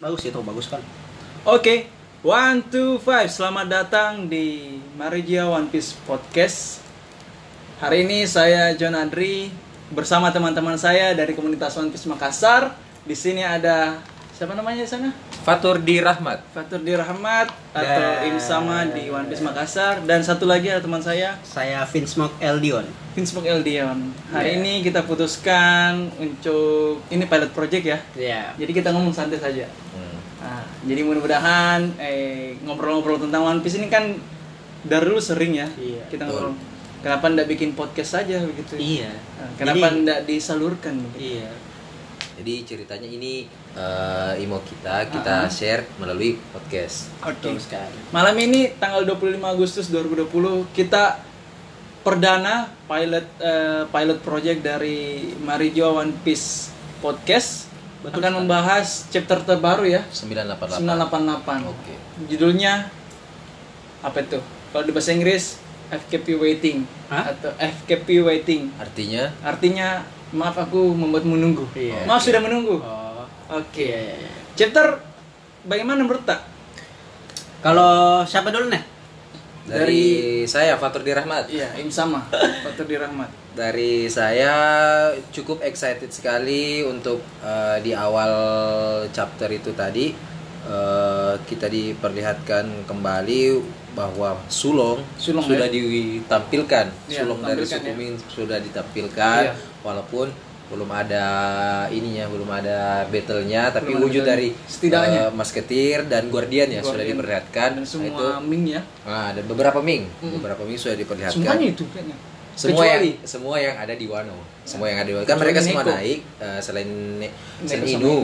Bagus itu, bagus kan? Oke, one two five. Selamat datang di Marigia One Piece Podcast. Hari ini saya John Andri bersama teman-teman saya dari komunitas One Piece Makassar. Di sini ada siapa namanya di sana? Fatur di Rahmat. Fatur Dirahmat atau Imsama di One Piece Makassar dan satu lagi ada teman saya Saya Vince Mok Eldion. Vinsmok Eldion. Hari ini kita putuskan untuk ini pilot project ya. Ya. Jadi kita ngomong santai saja. Hmm. Nah, jadi mudah-mudahan eh, ngobrol-ngobrol tentang One Piece ini kan dari dulu sering ya Iya. kita ngobrol. Kenapa ndak bikin podcast saja begitu? Iya. Nah, kenapa Jadi- ndak disalurkan? begitu? Iya. Jadi ceritanya ini eh, imo kita kita share melalui podcast. Betul sekali. Malam ini tanggal 25 Agustus 2020 kita perdana pilot eh, pilot project dari Marijo One Piece Podcast akan membahas chapter terbaru ya 988. 988. Oke. Judulnya apa itu? Kalau di bahasa Inggris FKP waiting Hah? atau FKP waiting. Artinya Artinya maaf aku membuatmu menunggu. Iya. Maaf sudah menunggu. Oke. Oh. Iya, iya, iya. Chapter bagaimana menurut tak? Kalau siapa dulu nih? dari, saya Fatur di Rahmat. Iya, im sama. Fatur Dirahmat. Dari saya cukup excited sekali untuk eh, di awal chapter itu tadi eh, kita diperlihatkan kembali bahwa Sulong, Sulong, sudah ya? ditampilkan, Iya, Sulong dari tampilkan, suku ya. Ming sudah ditampilkan Iya. walaupun belum ada ininya, belum ada battle-nya tapi Belum ada wujud battle-nya. dari Setidaknya. eh, Musketeer dan Guardian ya sudah Guardian. diperlihatkan Dan Nah, itu semua Ming ya. ah, dan beberapa Ming, beberapa Ming sudah diperlihatkan Semuanya itu kayaknya. semua Kecuali yang semua yang ada di Wano semua yang ada di Wano kan mereka Kecuali semua Neko. naik eh, selain ne selain Neko sama Inu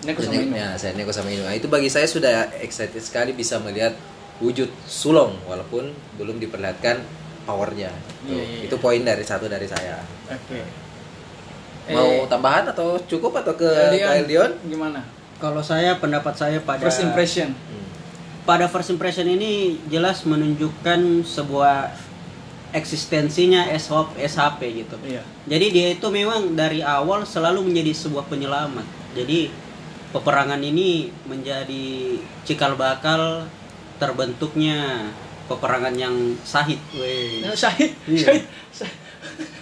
Ini aku sama Jadi, Inu. ya, selain Neko sama Inu Nah, itu bagi saya sudah excited sekali bisa melihat wujud Sulong walaupun belum diperlihatkan powernya Tuh, Iya, iya, itu poin dari satu dari saya Oke. mau Eh, tambahan atau cukup atau ke Eldion, ke Eldion Gimana? Kalau saya pendapat saya pada First impression. Hmm. pada first impression ini jelas menunjukkan sebuah eksistensinya SHOP, SHP gitu. Iya. Jadi dia itu memang dari awal selalu menjadi sebuah penyelamat. Jadi peperangan ini menjadi cikal bakal terbentuknya peperangan yang sahid. Weh. Nah, Syahid, Iya. Syahid, Syahid.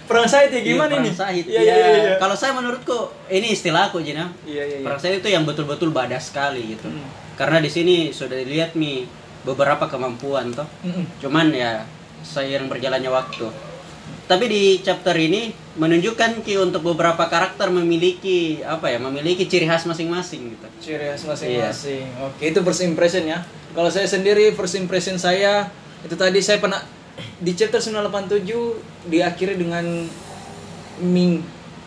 Perang Syahid ya gimana Iya, ini? perang Sahid. Iya, Iya. iya, iya. Kalau saya menurutku ini istilah aku Jina. Iya, iya, iya. Perang Sahid itu yang betul-betul badas sekali gitu. Mm. Karena di sini sudah dilihat nih beberapa kemampuan toh. Mm-mm. Cuman ya seiring berjalannya waktu. Tapi di chapter ini menunjukkan ki untuk beberapa karakter memiliki apa ya memiliki ciri khas masing-masing gitu. Ciri khas masing-masing. Iya. Oke, itu first impression ya. Kalau saya sendiri first impression saya itu tadi saya pernah di chapter 987 diakhiri dengan Ming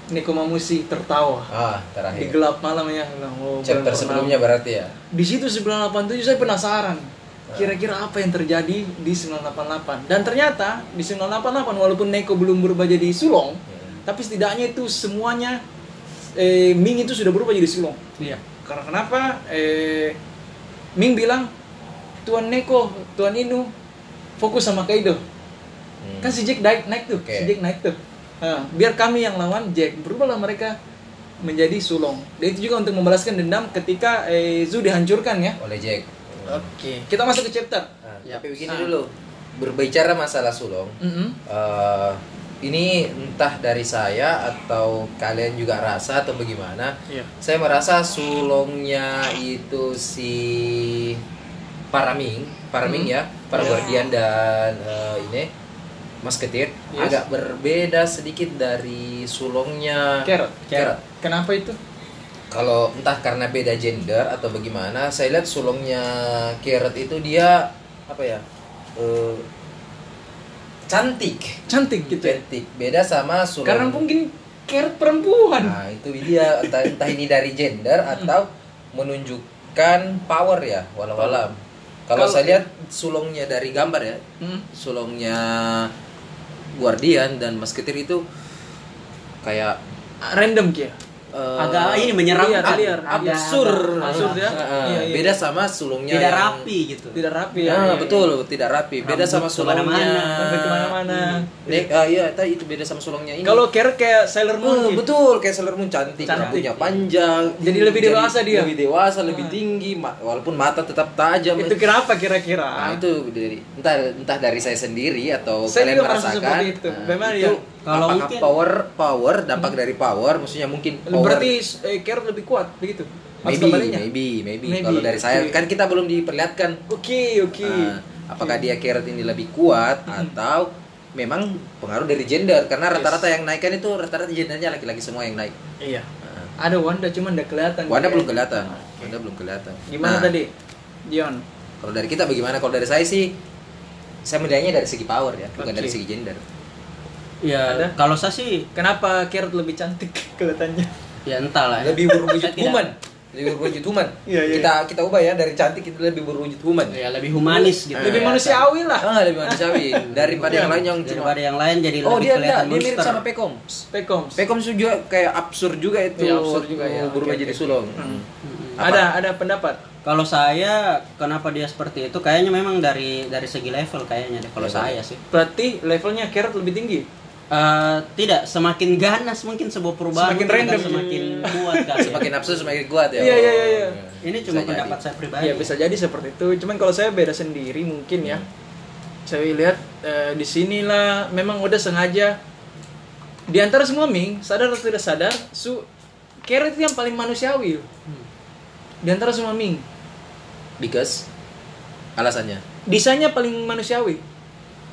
Nekomamushi tertawa ah di terakhir gelap malam ya. Bilang, "Oh, chapter bulan sebelumnya berarti ya di situ 987 saya penasaran Ah. kira-kira apa yang terjadi di 988 dan ternyata di 988 walaupun Neko belum berubah jadi Sulong Iya. tapi setidaknya itu semuanya eh, Ming itu sudah berubah jadi Sulong Iya. karena kenapa eh, Ming bilang Tuan Neko Tuan Inu fokus sama Kaido Hmm. kan si Jack naik naik tuh Oke. si Jack naik tuh Ah, biar kami yang lawan Jack berubahlah mereka menjadi sulong dan itu juga untuk membalaskan dendam ketika eh, Zoo dihancurkan ya oleh Jack Hmm. oke kita masuk ke chapter Nah, Ya. tapi begini dulu berbicara masalah Sulong Mm-mm. Eh, ini entah dari saya atau kalian juga rasa atau bagaimana Iya. saya merasa sulongnya itu si Paraming Hmm. Paraming ya para guardian dan eh, ini Masketir Iya. Yes. agak berbeda sedikit dari sulongnya Carrot. Ah, Carrot. kenapa itu Kalau entah karena beda gender atau bagaimana, saya lihat sulungnya Carrot itu dia apa ya? eh, cantik cantik gitu ya cantik beda sama sulung karena mungkin Carrot perempuan nah itu dia entah, entah ini dari gender Hmm. atau menunjukkan power ya walau alam kalau Kalau- saya lihat sulungnya dari gambar ya Mm. sulungnya guardian dan masketir itu kayak Ah, random kia eh, agak ini menyeramkan liar, liar, Agak- absurd, agak- kan? absurd ya. eh, Iya, iya. beda sama sulungnya tidak yang- rapi gitu Tidak rapi Ya, ya. iya, iya. betul, tidak rapi. Beda Rambut sama kemana-mana. Sampai sulungnya. kemana-mana. Nek, ah, iya, tadi itu beda sama sulungnya ini. iya. Kalau care kayak Sailor Moon. Eh, gitu. betul, kayak Sailor Moon cantik, Cantik. rambutnya panjang. Jadi lebih dewasa dia. Ah. Lebih dewasa, lebih tinggi, ma- walaupun mata tetap tajam. Itu kenapa kira-kira? Nah, itu dari entah entah dari saya sendiri atau Saya kalian juga merasa merasakan. seperti itu. Nah, Memang itu ya. Hmm. Kalau apakah mungkin- power power dampak dari power maksudnya mungkin power Berarti eh, care lebih kuat begitu. Mas maybe, kembalinya. maybe maybe Maybe, kalau dari saya oke. kan kita belum diperlihatkan Oke, oke. Hmm. Nah, apakah dia carrot ini lebih kuat atau memang pengaruh dari gender karena rata-rata yang naikkan itu rata-rata gendernya laki-laki semua yang naik. Iya. Ada Wanda cuman udah kelihatan. Ah. Wanda Kayak- belum kelihatan. Wanda belum kelihatan. Gimana Nah, tadi? Dion. Kalau dari kita bagaimana? Kalau dari saya sih saya melihatnya dari segi power ya, bukan Oke. dari segi gender. ya Ada? kalau saya sih Kenapa care lebih cantik kelihatannya? ya entahlah ya. Lebih berwujud Saya tidak- human. Lebih berwujud human. Iya, iya. Kita kita ubah ya dari cantik kita lebih berwujud human. ya lebih humanis gitu Lebih ya. manusiawi lah. Ah, lebih manusiawi daripada Iya. yang lain yang cuma daripada yang lain jadi Oh, lebih dia kelihatan enggak, dia mirip monster. sama Pekoms. Pekoms. Pekom juga kayak absurd juga itu. Iya, absurd juga, waktu ya. Berubah Oke, Hmm. jadi oke, sulung. Hmm. Ada ada pendapat. Kalau saya kenapa dia seperti itu? Kayaknya memang dari dari segi level kayaknya deh kalau Level. saya sih. Berarti levelnya Carrot lebih tinggi. Eh, tidak semakin ganas mungkin sebuah perubahan Semakin mungkin akan random. semakin kuat kali. ya. Semakin absurd semakin kuat ya. Iya, iya, iya, iya. Ini cuma Bisa pendapat jadi. saya pribadi. Iya bisa jadi seperti itu. Cuman kalau saya beda sendiri mungkin ya. Saya lihat eh, di sinilah memang udah sengaja di antara semua Ming, sadar atau tidak sadar, su Carrot itu yang paling manusiawi. Hmm. Di antara semua Ming, Because alasannya desainnya paling manusiawi.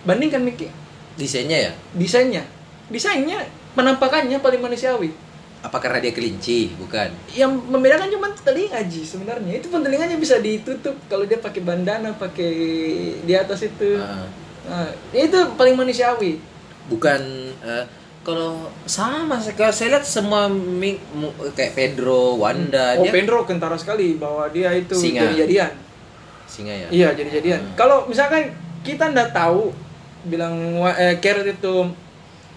Bandingkan Miki, desainnya ya. desainnya. Desainnya penampakannya paling manusiawi. Apa karena dia kelinci? Bukan. yang membedakan cuma telinga ji sebenarnya itu pun telinganya bisa ditutup kalau dia pakai bandana pakai di atas itu Ah, Nah, itu paling manusiawi bukan eh, kalau sama saya- kalau saya lihat semua mi- mu- kayak Pedro, Wanda, oh Ah, dia Pedro kentara sekali bahwa dia itu Singa. jadi-jadian singa ya. iya jadi-jadian kalau misalkan kita ndak tahu bilang wa- eh, Carrot itu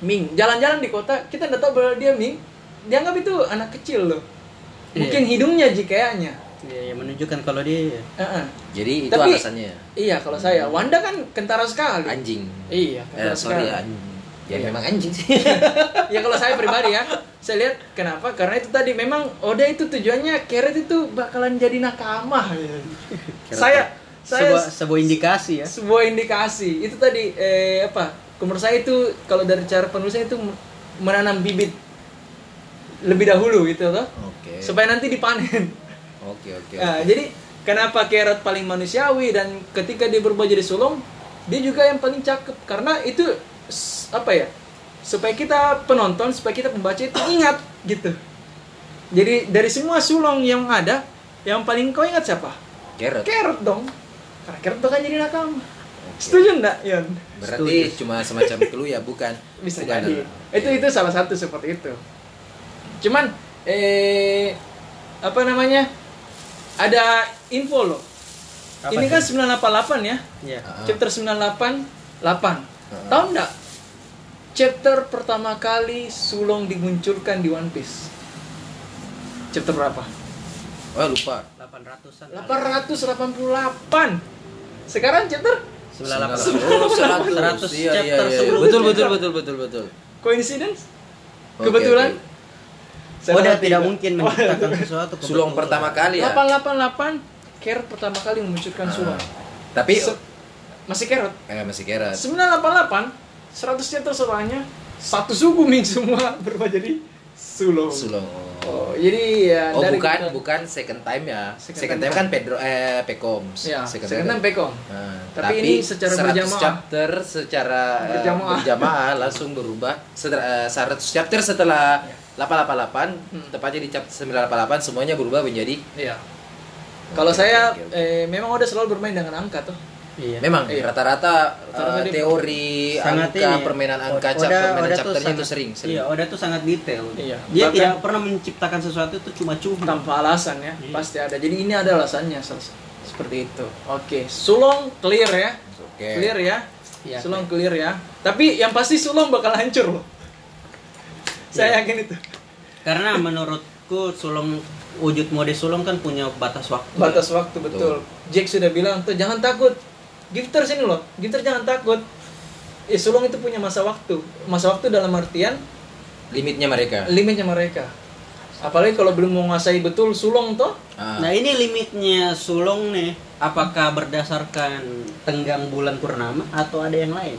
Ming jalan-jalan di kota kita ndak tahu bahwa dia Ming dianggap itu anak kecil loh Iya. mungkin hidungnya ji kayaknya Iya, iya, menunjukkan kalau dia Heeh. Jadi itu Tapi- alasannya. iya kalau saya Wanda kan kentara sekali Anjing. Iya, Eh, kentara sorry sekali. anjing. Ya Iya. memang anjing sih. ya kalau saya pribadi ya saya lihat kenapa karena itu tadi memang Oda itu tujuannya Keret itu bakalan jadi nakama saya saya sebuah sebuah indikasi ya. sebuah indikasi itu tadi eh, apa menurut saya itu kalau dari cara penulisnya itu menanam bibit lebih dahulu gitu loh Oke. supaya nanti dipanen Oke, oke. Nah, jadi kenapa Keret paling manusiawi dan ketika dia berubah jadi sulung dia juga yang paling cakep karena itu s- apa ya supaya kita penonton supaya kita pembaca itu ingat gitu jadi dari semua sulung yang ada yang paling kau ingat siapa Carrot. Keret dong karena Keret tuh kan jadi nakama setuju nggak Yon? Berarti cuma semacam clue ya, bukan? bisa bukan jadi anak. itu itu salah satu seperti itu cuman eh apa namanya ada info loh Apa ini tuh? kan 988 ya Iya. Ah. chapter 988 tahu nggak chapter pertama kali sulung dimunculkan di One Piece chapter berapa Oh, lupa. 800-an. 888 sekarang chapter 98. Oh, 100. 100 Iya, chapter iya, iya. sebelum Betul, itu. betul, betul, betul, betul. coincidence Oke, kebetulan oke. Saya Oda dapat Oh, tidak tiga. mungkin menciptakan sesuatu kebetulan. Sulung pertama kali ya. 888 Carrot pertama kali memunculkan sulung. Ah. Tapi Se- masih Carrot. eh, masih kira. 988 100 chapter setelahnya satu suku Ming semua berubah jadi sulung. Sulung. Oh, Oh, jadi ya dari bukan, kita- bukan second time ya. Second Second, time. time kan Pedro eh Pekoms. Ya, sekarang Pekong. Nah, Tapi tapi, ini secara 100 berjamaah. chapter secara eh, Berjamaah. berjamaah langsung berubah Setelah, eh, 100 chapter setelah 888 Iya. Hmm. tepatnya di chapter 988 semuanya berubah menjadi Iya. Kalau Oke, saya oke, oke. eh, memang udah selalu bermain dengan angka tuh. Iya. Memang Iya. rata-rata Rata-rata eh, dia teori sangat ini, angka ya. permainan angka Oda- cap, permainan Oda tuh chapternya itu sangat- sering, sering. Iya, Oda tuh sangat detail. Iya. Dia Bahkan- tidak pernah menciptakan sesuatu itu cuma-cuma. tanpa alasan ya Hmm. Iya. pasti ada jadi ini ada alasannya selesai seperti itu oke sulong clear ya Oke. clear ya Iya. sulong clear Iya. ya tapi yang pasti sulong bakal hancur loh saya yakin itu Karena menurutku sulung wujud mode sulung kan punya batas waktu. batas waktu betul. Jack sudah bilang tuh jangan takut. Gifter sini loh, Gifter jangan takut. Eh, sulung itu punya masa waktu. Masa waktu dalam artian Iya. limitnya mereka limitnya mereka. Apalagi kalau belum menguasai betul sulung toh. Ah. Nah ini limitnya sulung nih. Apakah berdasarkan tenggang bulan purnama atau ada yang lain?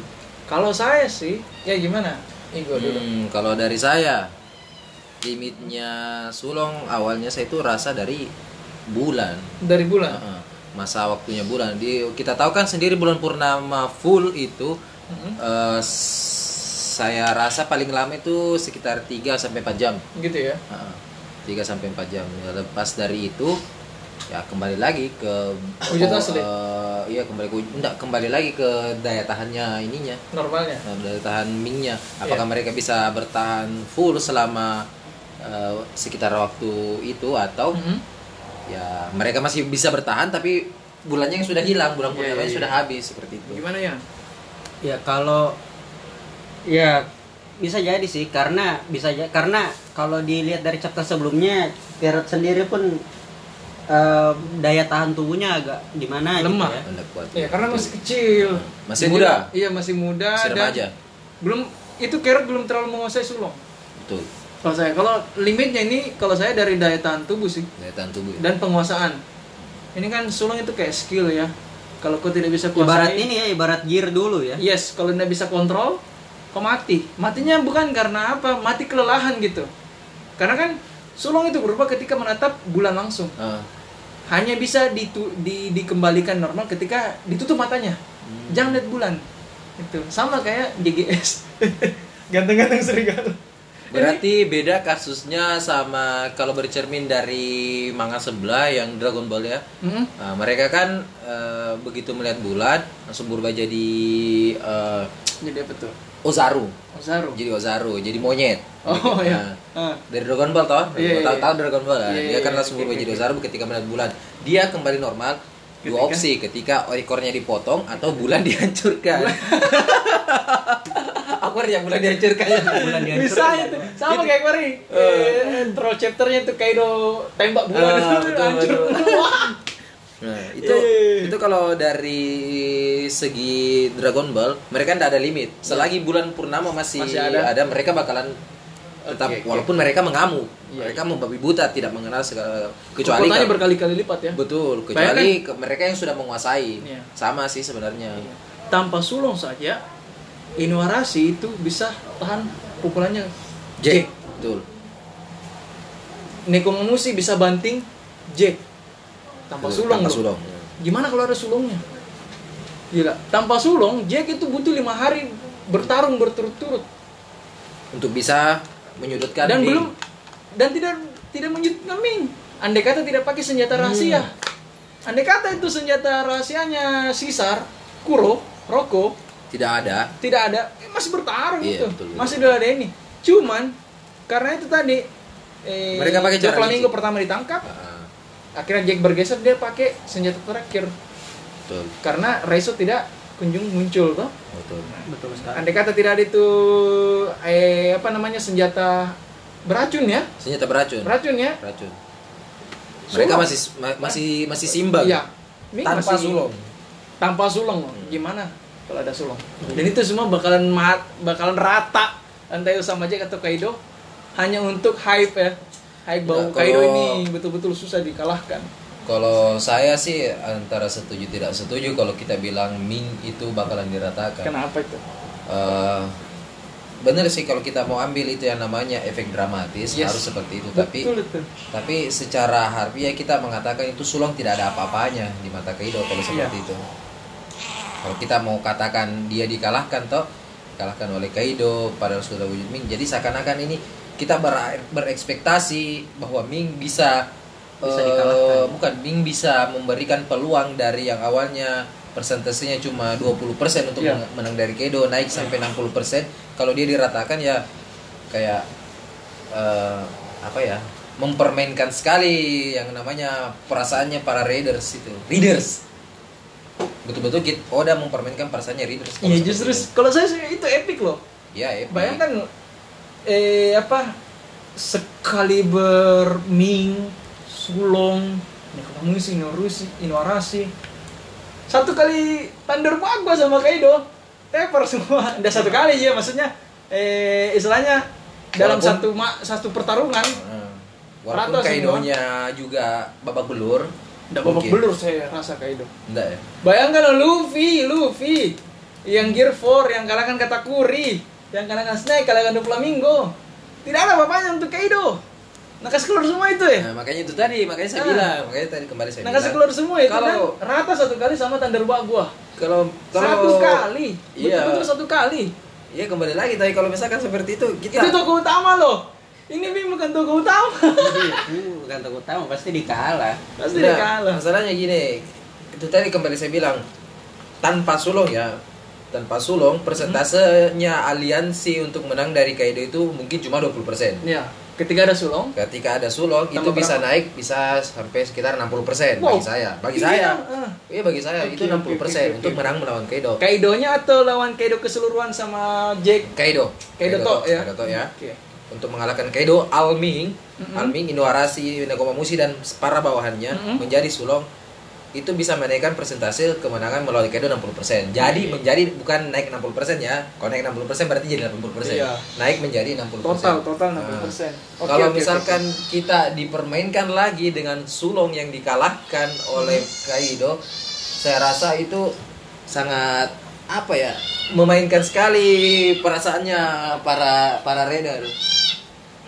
Kalau saya sih, ya gimana? Ini gua dulu. Hmm, kalau dari saya limitnya sulong awalnya saya itu rasa dari bulan Dari bulan. Heeh, masa waktunya bulan di kita tahu kan sendiri bulan purnama full itu eh, s- saya rasa paling lama itu sekitar 3 sampai 4 jam Gitu ya. Heeh, 3 sampai 4 jam Ya, lepas dari itu ya kembali lagi ke Wujud asli? eh, iya kembali ke wuj- enggak kembali lagi ke daya tahannya ininya Normalnya. Nah, daya tahan minyaknya Iya. apakah mereka bisa bertahan full selama eh, sekitar waktu itu atau Hmm. Mhm. ya mereka masih bisa bertahan tapi bulannya yang sudah hilang bulan Iya, purnamanya iya, sudah habis seperti itu Gimana ya? Ya kalau ya bisa jadi sih karena bisa ja- karena kalau dilihat dari chapter sebelumnya Geralt sendiri pun eh, daya tahan tubuhnya agak gimana Lemah. gitu ya. Anda kuat Ya karena masih kecil. Masih muda. Iya, masih muda Masih dan remaja. belum itu Carrot belum terlalu menguasai sulung. betul Kalau saya kalau limitnya ini kalau saya dari daya tahan tubuh sih daya tahan tubuh ya. dan penguasaan. Ini kan sulung itu kayak skill ya. Kalau kau tidak bisa Ibarat kuasai, ini ya ibarat gear dulu ya. yes, kalau tidak bisa kontrol, kau mati. Matinya bukan karena apa? Mati kelelahan gitu. Karena kan sulung itu berubah ketika menatap bulan langsung. Ah, Hanya bisa ditu- di- dikembalikan normal ketika ditutup matanya. Hmm. Jangan lihat bulan. Itu sama kayak JGS. Ganteng-ganteng serigala. berarti beda kasusnya sama kalau bercermin dari manga sebelah yang Dragon Ball ya Mm-mm. Nah, mereka kan eh, begitu melihat bulan langsung berubah jadi eh, Jadi apa tuh? Ozaru Ozaru. jadi Ozaru jadi monyet Oh Jadi, ya. Ah. nah, dari Dragon Ball toh Iya, Dragon Ball, iya, tahu iya. tahu Dragon Ball kan? Iya, dia iya, kan iya, langsung oke, berubah oke, jadi oke. Ozaru ketika melihat bulan dia kembali normal dua Ketika? opsi ketika ekornya dipotong atau bulan dihancurkan aku ada yang bulan dihancurkan Iya, Bulan dihancurkan. Bisa itu. ya. Sama kayak kemarin. Eh, intro chapternya tuh Kaido tembak bulan Ah, itu betul, hancur. betul. nah itu Iya. itu kalau dari segi Dragon Ball mereka tidak ada limit selagi bulan purnama masih, Iya. Masih ada. ada. mereka bakalan tetap Oke, oke. walaupun mereka mengamuk Iya, mereka membabi buta tidak mengenal segala kecuali Kekuatannya kalau- berkali-kali lipat ya. Betul, Bayangkan. kecuali ke- mereka yang sudah menguasai. Iya. Sama sih sebenarnya. Tanpa sulung saja Inuarashi itu bisa tahan pukulannya. Iya. Jack, betul. Nekomamushi bisa banting Jack. Tanpa Betul, sulung. Iya. tanpa loh. sulung. Gimana kalau ada sulungnya? Gila, tanpa sulung Jack itu butuh lima hari bertarung berturut-turut. Untuk bisa menyudutkan dan Ming. belum dan tidak tidak menyudutkan Ming. Andai kata tidak pakai senjata Iya. rahasia. Andai kata itu senjata rahasianya Sisar, Kuro, Roko tidak ada. tidak ada eh, masih bertarung Iya, itu. betul, betul. Masih ada ini. Cuman karena itu tadi eh, Mereka pakai cara Doflamingo licik. pertama ditangkap, Ah, akhirnya Jack bergeser dia pakai senjata terakhir betul, karena Raizo tidak kunjung muncul toh. betul. Betul sekali. Andai kata tidak ada itu eh apa namanya senjata beracun ya? Senjata beracun. Beracun ya? Beracun. Mereka Sulung. masih ma- masih masih simbang. Iya. Ini Tanpa masih- sulung. Tanpa sulung loh. Gimana kalau ada sulung? Hmm. Dan itu semua bakalan ma- bakalan rata entah itu sama Jack atau Kaido hanya untuk hype ya. Hype bahwa Nah, Kaido kalau- ini betul-betul susah dikalahkan. Kalau saya sih antara setuju tidak setuju kalau kita bilang Ming itu bakalan diratakan. Kenapa itu? Eh, bener sih kalau kita mau ambil itu yang namanya efek dramatis Yes. harus seperti itu tapi Betul itu. Tapi secara harfiah kita mengatakan itu sulung tidak ada apa-apanya di mata Kaido kalau seperti itu. Kalau kita mau katakan dia dikalahkan toh dikalahkan oleh Kaido pada sudah wujud Ming. Jadi seakan-akan ini kita ber- berekspektasi bahwa Ming bisa Bisa eh, dikalahkan. bukan Ming bisa memberikan peluang dari yang awalnya persentasenya cuma 20% untuk Iya. men- menang dari Kaido naik sampai 60%. Kalau dia diratakan ya kayak eh, apa ya mempermainkan sekali yang namanya perasaannya para readers itu readers betul-betul kita Oda mempermainkan perasaannya readers kalau Iya seperti Iya, justru itu. kalau saya sih itu epic loh. ya epic. Bayangkan eh apa sekaliber Ming, Sulong, Nekotamusi, Inorusi, Inuarasi. Satu kali Thunder Magma sama Kaido, teper semua. Udah satu kali ya maksudnya. Eh istilahnya dalam Walaupun- satu ma- satu pertarungan Hmm. Walaupun Rata semua. Kaidonya juga babak belur. udah babak mungkin. belur saya rasa Kaido. Enggak ya? Bayangkan lo Luffy, Luffy yang Gear 4 yang kalahkan Katakuri, yang kalahkan Snake, kalahkan Doflamingo. Tidak ada bapaknya untuk Kaido. Nakas keluar semua itu ya. Nah, makanya itu tadi, makanya saya Ah. bilang, makanya tadi kembali saya Nakas bilang. Nah, keluar semua itu Kalau- kan rata satu kali sama Thunder Bug gua. Kalau kalau Satu kali. Iya. Betul-betul satu kali. Iya, kembali lagi tadi kalau misalkan seperti itu, kita Itu tokoh utama loh. Ini Bim bukan tokoh utama. Ini bukan takut tahu pasti dikalah. Pasti dia Nah, kalah. Masalahnya gini, itu tadi kembali saya bilang tanpa sulung ya, tanpa sulung persentasenya aliansi untuk menang dari Kaido itu mungkin cuma 20%. Ya, ketika ada Sulong, Ketika ada sulung Tambah itu bisa berapa? naik bisa sampai sekitar 60% Wow. bagi saya. Bagi Iya, saya. ah. Iya bagi saya Oke, itu oke, oke, 60% oke, untuk oke. menang melawan Kaido. Kaidonya atau lawan Kaido keseluruhan sama Jack Kaido. Kaido Tok ya. Kaido Tok ya. Oke. Untuk mengalahkan Kaido, Alming, Alming, Inuarashi, Nekomamushi dan para bawahannya Mhm. menjadi sulung itu bisa menaikkan persentase kemenangan melawan Kaido 60%. Jadi Oke. menjadi bukan naik 60% ya. Kalau naik 60% berarti jadi 80%. Iya. Naik menjadi 60%. Total total 60%. Nah, Oke, Kalau oke, oke. misalkan kita dipermainkan lagi dengan sulung yang dikalahkan oleh Kaido, saya rasa itu sangat apa ya? Memainkan sekali perasaannya para para raider.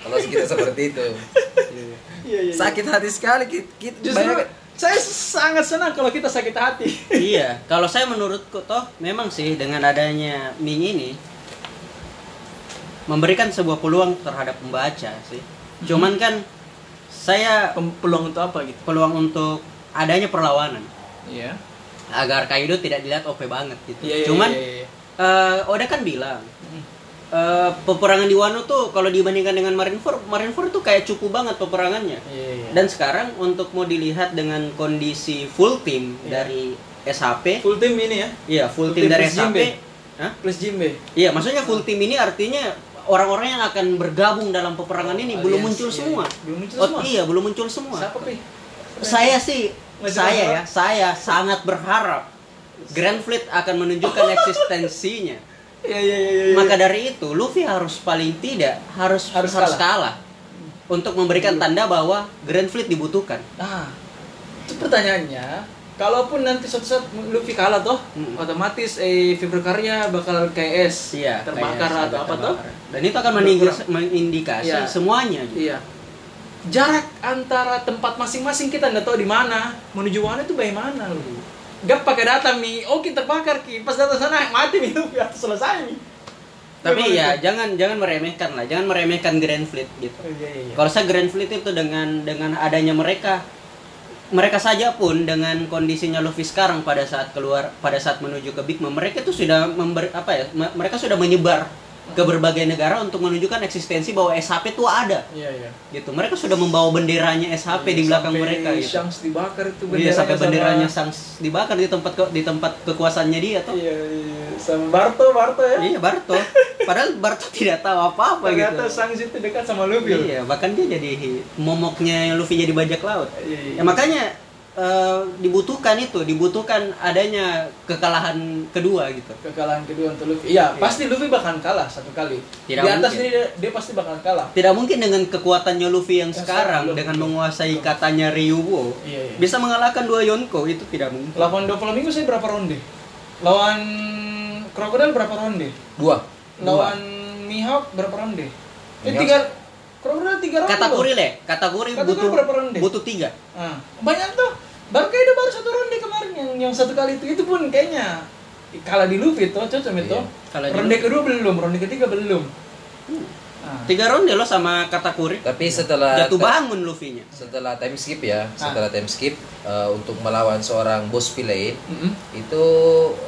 Kalau kita seperti itu. Iya, iya, iya. Sakit hati sekali kita, kita Justru bayangkan. saya sangat senang kalau kita sakit hati. iya, kalau saya menurutku toh memang sih dengan adanya Ming ini memberikan sebuah peluang terhadap pembaca sih. Hmm. Cuman kan saya Peluang untuk apa gitu? peluang untuk adanya perlawanan Iya. agar Kaido tidak dilihat OP banget gitu. Iya, iya, Cuman iya, iya. eh, Oda kan bilang eh, peperangan di Wano tuh kalau dibandingkan dengan Marineford, Marineford tuh kayak cukup banget peperangannya. Iya, iya. Dan sekarang untuk mau dilihat dengan kondisi full team Iya. dari SHP, full team ini ya. iya full, full team team dari plus Jimbe. SHP. Hah? Plus Jimbe. ya? Iya, maksudnya full team ini artinya orang-orang yang akan bergabung dalam peperangan ini belum Aliansi, muncul iya, semua. iya. Belum muncul Oh, semua. Iya, belum muncul semua. Siapa, Pi? Saya sih, Masih saya ya, berharap? saya sangat berharap Grand Fleet akan menunjukkan eksistensinya. Iya, iya, iya, iya. Maka dari itu, Luffy harus paling tidak harus harus, Harus kalah. untuk memberikan Iya. tanda bahwa Grand Fleet dibutuhkan. Nah, itu pertanyaannya, kalaupun nanti suatu saat Luffy kalah toh, Mm. otomatis eh Fibrokarnya bakal KS, Iya, terbakar kayak atau agak apa toh? terbakar. Dan itu akan meninggi- Berkurang. mengindikasi Iya. semuanya. gitu. Iya. Jarak antara tempat masing-masing kita nggak tahu di mana, menuju mana itu bagaimana lu? Gak pakai data mi, oke terbakar ki, pas datang sana mati mi Luffy, atau selesai mi. Tapi Memang ya itu. jangan jangan meremehkan lah, jangan meremehkan Grand Fleet gitu. Oh, iya, iya, iya. Kalau saya Grand Fleet itu dengan dengan adanya mereka mereka saja pun dengan kondisinya Luffy sekarang pada saat keluar pada saat menuju ke Big Mom mereka itu sudah member apa ya me- mereka sudah menyebar ke berbagai negara untuk menunjukkan eksistensi bahwa SHP itu ada Iya, iya. gitu mereka sudah membawa benderanya SHP di belakang Sampai mereka gitu. Shanks dibakar itu Iya, sampai sama- benderanya Sans dibakar di tempat ke- di tempat kekuasaannya dia tuh. Iya, iya. Sama Barto, Barto ya. Iya, Barto. Padahal Barto tidak tahu apa-apa gitu. Ternyata Shanks itu dekat sama Luffy. loh. Iya, bahkan dia jadi momoknya Luffy jadi bajak laut. Iya, iya. Ya makanya eh, dibutuhkan itu, dibutuhkan adanya kekalahan kedua gitu. Kekalahan kedua untuk Luffy. Iya, Iya. pasti Luffy bakal kalah satu kali. Tidak di atas mungkin. dia dia pasti bakal kalah. Tidak mungkin dengan kekuatannya Luffy yang Ya, sekarang belum, dengan belum, menguasai belum. katanya Ryuwo Iya, iya. bisa mengalahkan dua Yonko itu tidak mungkin. Lawan Doflamingo saya berapa ronde? Lawan Crocodile berapa ronde? Dua. Lawan Mihawk berapa ronde? Eh, Mihawk- tiga Crocodile tiga ronde. Katakuri loh. leh, katakuri Katakuri butuh berapa ronde? butuh tiga. Ah, banyak tuh. Barca itu baru satu ronde kemarin yang yang satu kali itu itu pun kayaknya kalah di Luffy tuh, cocok itu. Iya, kalah di Uh. Ronde kedua belum, ronde ketiga belum. Ah. Tiga ronde lo sama katakuri. Tapi setelah Jatuh bangun Luffy-nya. setelah time Ah. skip ya, setelah time skip eh, untuk melawan seorang bos villain Mm-mm. itu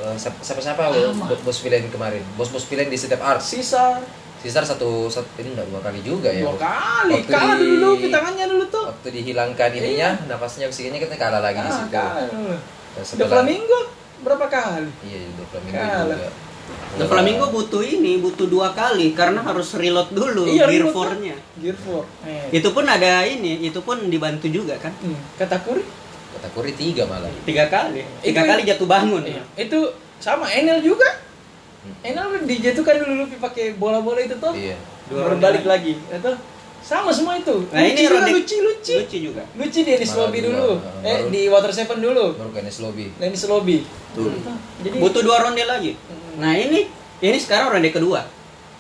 eh, siapa siapa, siapa lo- bo- bos villain kemarin bos bos villain di setiap arc Sisa Caesar satu, satu ini enggak dua kali juga ya dua kali, waktu kalah di- dulu kan Luffy tangannya dulu tuh. waktu dihilangkan ininya nafasnya oksigennya kita kalah lagi di Iya. Ah, situ kalah. Dan Udah setelah- Flamingo berapa kali? iya dua Kalah. juga The Flamingo butuh ini, butuh dua kali karena harus reload dulu Iya, gear remote. 4-nya. Gear 4. Eh. Itu pun ada ini, itu pun dibantu juga kan. Hmm, Kata Kuri. Kata Kuri tiga malah. Iya. Tiga kali. Tiga Itu- kali jatuh bangun. Hmm. Iya. Itu sama Enel juga. Enel dijatuhkan kan dulu Luffy pakai bola-bola itu tuh. Iya. Dua Baru ronde balik lagi. lagi. Itu sama semua itu. Nah, ini juga, ronde lucu lucu. Lucu juga. Lucu dia di Malah Slobby dua, dulu. uh, Eh baru- di Water Seven dulu. Baru Kenneth Lobby. Dennis Lobby. Tuh. Jadi Butuh dua ronde lagi. Nah, ini ini sekarang ronde kedua.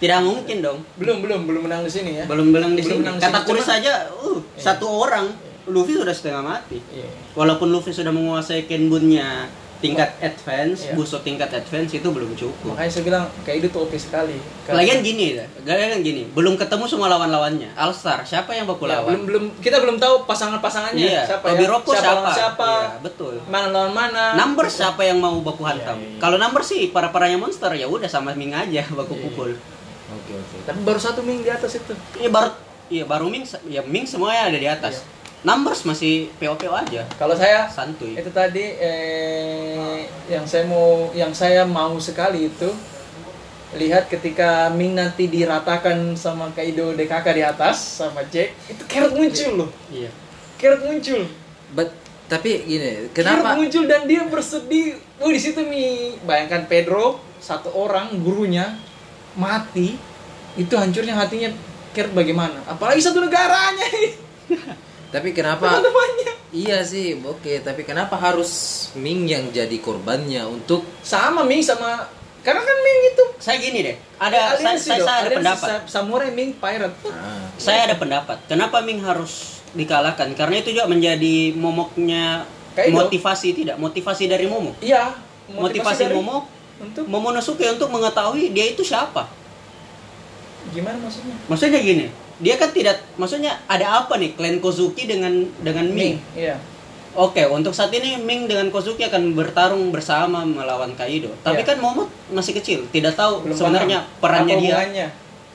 Tidak mungkin dong. belum belum belum menang di sini ya. Belum belum di Belum sini. menang di Kata sini, Kuri cuma- saja uh, satu orang Luffy sudah setengah mati. Iya. Walaupun Luffy sudah menguasai Kenbunnya tingkat advance, Iya. busuk tingkat advance itu belum cukup. Makanya saya bilang kayak itu tuh OP sekali. Karena- Lagian gini, lagian gini, belum ketemu semua lawan-lawannya. Alstar, siapa yang baku Ya, lawan? belum belum kita belum tahu pasangan-pasangannya Iya, siapa Tobi ya. Rocco siapa, siapa? lawan siapa. Iya, betul. Mana lawan mana? Number siapa yang mau baku Iya, hantam? iya, iya. Kalau number sih para-paranya monster ya udah sama Ming aja baku Iya, iya. pukul. Oke oke. Tapi baru satu minggu di atas itu. Iya baru iya baru Ming ya Ming semuanya ada di atas. Iya. Numbers masih PO-PO aja. Kalau saya Santuy. itu tadi eh, yang saya mau yang saya mau sekali itu lihat ketika Ming nanti diratakan sama Kaido DKK di atas sama Jack itu Carrot muncul loh Iya. Carrot muncul But tapi gini, Carrot kenapa? muncul dan dia bersedih oh di situ Mi bayangkan Pedro satu orang gurunya mati itu hancurnya hatinya Carrot bagaimana apalagi satu negaranya Tapi kenapa? teman-temannya Iya sih, oke. Tapi kenapa harus Ming yang jadi korbannya untuk sama Ming sama karena kan Ming itu Saya gini deh, ada saya, aliansi saya, dong, saya ada aliansi pendapat. sa- samurai Ming pirate. ah, Saya ada pendapat. Kenapa Ming harus dikalahkan? Karena itu juga menjadi momoknya Kaido. motivasi tidak motivasi dari Momo. Iya, Motivasi, dari- Momo untuk Momonosuke untuk mengetahui dia itu siapa. gimana maksudnya? Maksudnya gini, dia kan tidak maksudnya ada apa nih klan Kozuki dengan dengan Ming? iya. Oke, untuk saat ini Ming dengan Kozuki akan bertarung bersama melawan Kaido. Tapi Iya. kan Momo masih kecil, tidak tahu Belum sebenarnya paham. perannya Apa dia. hubungannya?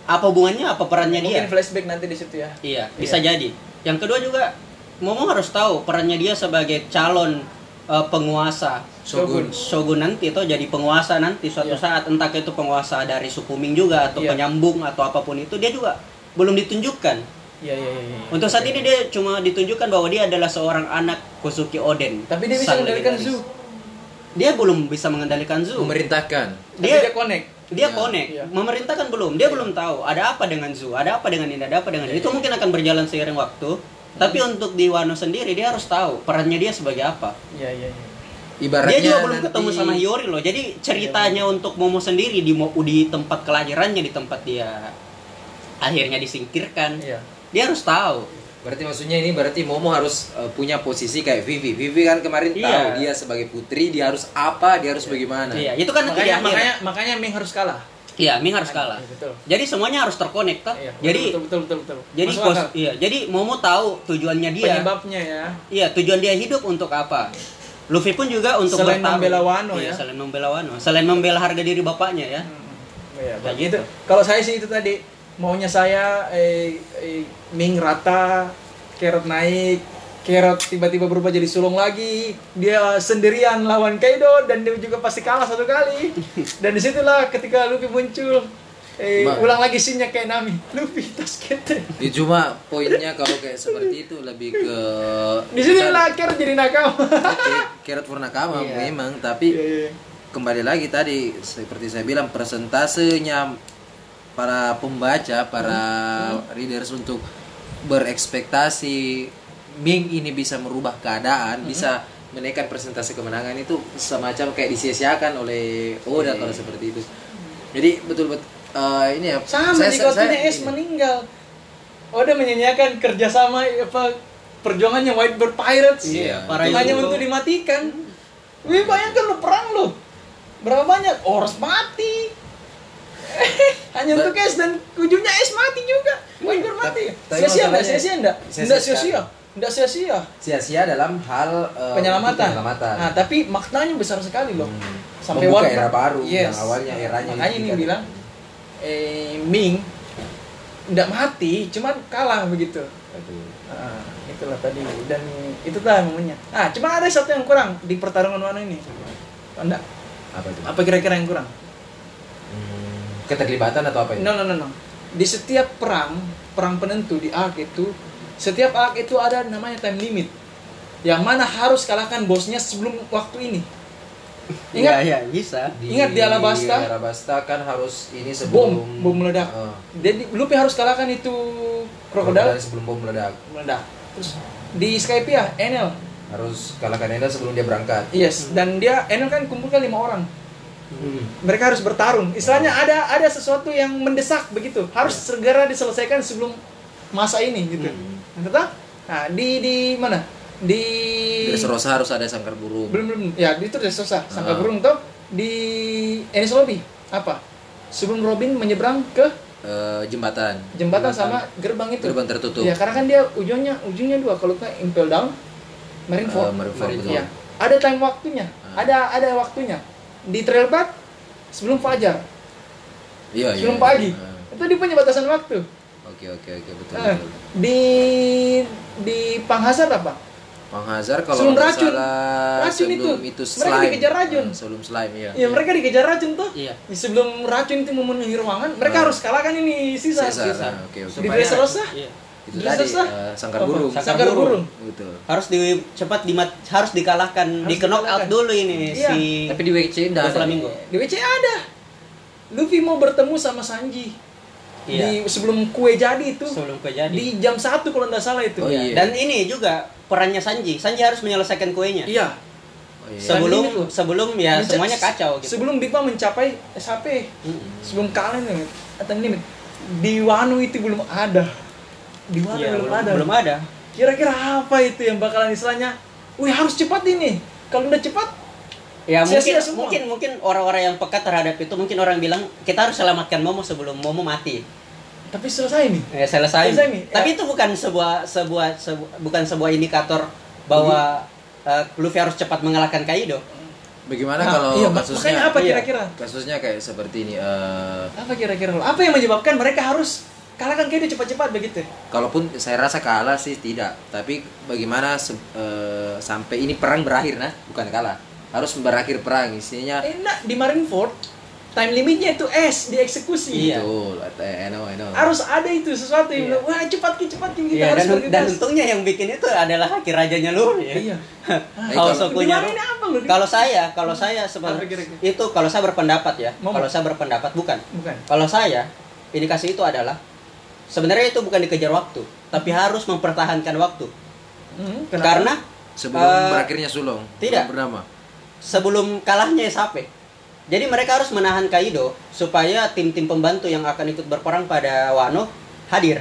Apa hubungannya apa perannya dia? Mungkin flashback nanti di situ ya. Iya, bisa jadi. Yang kedua juga Momo harus tahu perannya dia sebagai calon eh, penguasa Shogun? Shogun nanti atau jadi penguasa nanti suatu Iya. saat entah itu penguasa dari suku Ming juga atau Iya. penyambung atau apapun itu dia juga belum ditunjukkan. Iya, iya, iya. iya. Untuk saat ini dia cuma ditunjukkan bahwa dia adalah seorang anak Kosuki Oden. Tapi dia bisa sang mengendalikan legendaris. zoo. Dia belum bisa mengendalikan Zu. memerintahkan? Dia, Dia- dia connect. Dia Iya. connect, Iya. memerintah kan belum. Dia belum tahu ada apa dengan Zu, ada apa dengan ini, ada apa dengan ini. Itu mungkin akan berjalan seiring waktu. Tapi untuk di Wano sendiri dia harus tahu perannya dia sebagai apa. Iya, iya, iya. Ibaratnya dia juga belum nanti- ketemu sama Hiyori loh. Jadi ceritanya Iya. untuk Momo sendiri di mo- di tempat kelahirannya di tempat dia akhirnya disingkirkan. Iya. Dia harus tahu. Berarti maksudnya ini berarti Momo harus uh, punya posisi kayak Vivi. Vivi kan kemarin Iya. tahu dia sebagai putri, dia harus apa, dia harus bagaimana. Iya, itu kan nanti di Makanya, akhir. makanya, makanya Ming harus kalah. Iya, Ming harus kalah. Iya, betul. Jadi semuanya harus terkonek toh. Iya, betul, jadi betul, betul, betul, betul. jadi Masuk kos- akal. iya, jadi Momo tahu tujuannya dia. penyebabnya ya. Iya, tujuan dia hidup untuk apa? Luffy pun juga untuk Selain bertarung. membela Wano Iya, ya. Selain membela Wano, selain membela harga diri bapaknya ya. Ya, Kayak gitu. gitu. Kalau saya sih itu tadi maunya saya eh, eh, Ming rata, Carrot naik, Carrot tiba-tiba berubah jadi sulung lagi. Dia sendirian lawan Kaido dan dia juga pasti kalah satu kali. Dan disitulah ketika Luffy muncul, eh, Ma- ulang lagi sinnya kayak Nami. Luffy Toskete. Ya, cuma poinnya kalau kayak seperti itu lebih ke Di sinilah Carrot jadi nakama. Oke, Kerat Purnakama memang, tapi Iya, iya. kembali lagi tadi seperti saya bilang persentasenya para pembaca, para readers untuk berekspektasi Ming ini bisa merubah keadaan, Mm-hmm. bisa menaikkan persentase kemenangan itu semacam kayak disia-siakan oleh Oda Iya, kalau seperti itu. Jadi betul-betul eh, ini ya. Sama saya- jika saya- saya- waktunya S ini. meninggal. Oda menyanyiakan kerjasama apa perjuangannya Whitebird Pirates. Iya, Itu para hanya itu. untuk dimatikan. Wih bayangkan lo perang lo. Berapa banyak orang mati. hanya untuk S dan ujungnya S mati juga. Whitebird mati. Iya, tapi Sia-sia enggak? masalahnya- Sia-sia enggak? Sia-sia Enggak sekali. sia-sia. Enggak sia-sia. sia-sia dalam hal eh, Penyelamatan. penyelamatan. Nah, tapi maknanya besar sekali loh. Hmm. Sampai Membuka Whitebird- era baru, Yes. yang awalnya eranya kan. Makanya ini ditinggalkan. bilang eh Ming enggak mati, cuman kalah begitu. Aduh. Ah, itulah tadi dan itu lah momennya. Ah, cuma ada satu yang kurang di pertarungan mana ini. Anda apa itu? apa kira-kira yang kurang? keterlibatan atau apa ya? No, no, no, no. Di setiap perang, perang penentu di arc itu, setiap arc itu ada namanya time limit. Yang mana harus kalahkan bosnya sebelum waktu ini. Ingat, Iya, iya, bisa. Ingat di Alabasta? di Alabasta kan harus bom, ini sebelum bom meledak. Eh, Jadi Luffy harus kalahkan itu krokodil krokodil sebelum bom meledak meledak. Terus di Skype ya, Enel. harus kalahkan Enda sebelum dia berangkat Yes, dan dia Enel kan kumpulkan lima orang. Hmm. Mereka harus bertarung. Istilahnya ada ada sesuatu yang mendesak begitu. Harus Ya. segera diselesaikan sebelum masa ini gitu. Hmm. Nah, tetap- Nah, di di mana? Di Dressrosa harus ada sangkar burung belum belum ya di itu Dressrosa, Sangka Ah. Burung toh di Enies Lobby apa? Sebelum Robin menyeberang ke Eh, jembatan jembatan, Jembatan. sama gerbang itu. gerbang tertutup Ya, karena kan dia ujungnya ujungnya dua kalau nggak Impel Down, Marineford. Eh, Marineford, Marineford. betul. Iya. Ada time waktunya. Ah. Ada ada waktunya. Di trailback sebelum fajar, Iya, iya, sebelum iya. pagi. Eh, Itu dia punya batasan waktu. Oke oke oke betul. Eh, betul. di di Panghasar apa? Bang Hazar kalau Sebelum nggak racun. salah Racun sebelum itu. itu, Mereka slime. dikejar racun. Eh, sebelum slime ya. Ya mereka dikejar racun tuh. Iya. Sebelum racun itu memenuhi ruangan, mereka Ah. harus kalahkan ini sisa. Sisa, sisa. ah, Oke oke. Di Dressrosa? Iya. Itu Bisa, tadi sah. eh, sangkar Apa? burung. Sangkar burung. Betul. Harus di cepat dimat harus dikalahkan, Harus di knock out dikalahkan. dulu ini Iya. si Tapi di WC enggak ada. Flamingo. Di WC ada. Luffy mau bertemu sama Sanji. Iya. Di sebelum kue jadi itu. Sebelum kejadian. Di jam 1 kalau nggak salah itu. Oh, iya. Dan ini juga perannya Sanji. Sanji harus menyelesaikan kuenya. Iya. Oh, Sangkar iya. Sebelum burung. sebelum ya Menca- semuanya kacau gitu. Sebelum Big Mom mencapai SHP, Mm-mm. sebelum kalian limit, atau limit, di Wano itu belum ada. Di Wano Iya, belum, ada. Belum ada. Kira-kira apa itu yang bakalan istilahnya? Wih harus cepat ini. Kalau udah cepat, Ya mungkin Sia-sia semua. mungkin mungkin orang-orang yang peka terhadap itu mungkin orang bilang kita harus selamatkan Momo sebelum Momo mati. tapi selesai nih. Ya, selesai. Selesai nih, Tapi ya. itu bukan sebuah sebuah sebu- bukan sebuah indikator bahwa eh, Luffy harus cepat mengalahkan Kaido. Bagaimana Nah, kalau iya, mak- kasusnya? makanya apa Iya. kira-kira? Kasusnya kayak seperti ini. eh, Apa kira-kira? lo? Apa yang menyebabkan mereka harus kalahkan Kaido cepat-cepat begitu? kalaupun saya rasa kalah sih tidak. Tapi bagaimana se- eh, sampai ini perang berakhir nah? Bukan kalah. Harus berakhir perang isinya. Enak di Marineford, time limitnya itu S dieksekusi. Iya. Betul. I know I know. Harus ada itu sesuatu Iya. yang bilang, wah cepat ki cepat ki kita Iya, harus dan, dan bergegas." untungnya yang bikin itu adalah haki rajanya Luffy. ya. Iya. Kalau kalau- sukunya- Dimarahin apa lu? Kalau saya, kalau saya sebenarnya Apa kira-kira? itu kalau saya berpendapat ya, Momo. kalau saya berpendapat bukan. Bukan. Kalau saya indikasi itu adalah sebenarnya itu bukan dikejar waktu, tapi harus mempertahankan waktu. Hmm, Karena Sebelum Eh, berakhirnya sulung. tidak. Belum Bernama. sebelum kalahnya Sape. Jadi mereka harus menahan Kaido supaya tim-tim pembantu yang akan ikut berperang pada Wano hadir.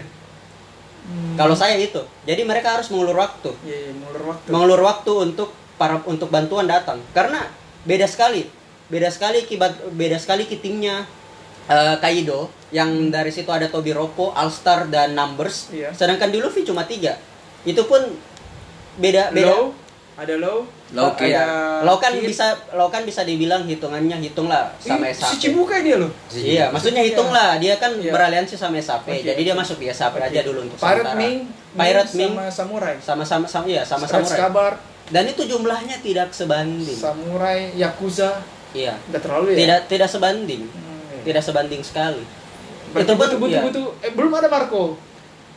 Hmm. Kalau saya itu. Jadi mereka harus mengulur waktu, Iya, iya, ngulur waktu. mengulur waktu untuk para untuk bantuan datang. Karena beda sekali, beda sekali kibat beda sekali ki timnya eh, Kaido yang dari situ ada Tobi Ropo, Alstar dan Numbers. Hmm. Iya. Sedangkan di Luffy cuma tiga. Itu pun beda beda. Low, ada low. Low ada kid. Lo kan kid. bisa lo kan bisa dibilang hitungannya hitunglah sama Ih, Si SAP. Cibuka dia loh. Iya, maksudnya hitunglah dia kan Iya. beraliansi sama SAP. Oke. Jadi dia masuk di SAP aja dulu untuk Pirate sementara. Ming, Pirate Ming sama Samurai. sama sama sama iya sama Stretch samurai. Kabar, Dan itu jumlahnya tidak sebanding. Samurai, Yakuza, Iya. udah terlalu ya. Tidak tidak sebanding. Hmm, iya. Tidak sebanding sekali. Berarti itu pun butuh, butuh, iya. butuh. Eh, belum ada Marco.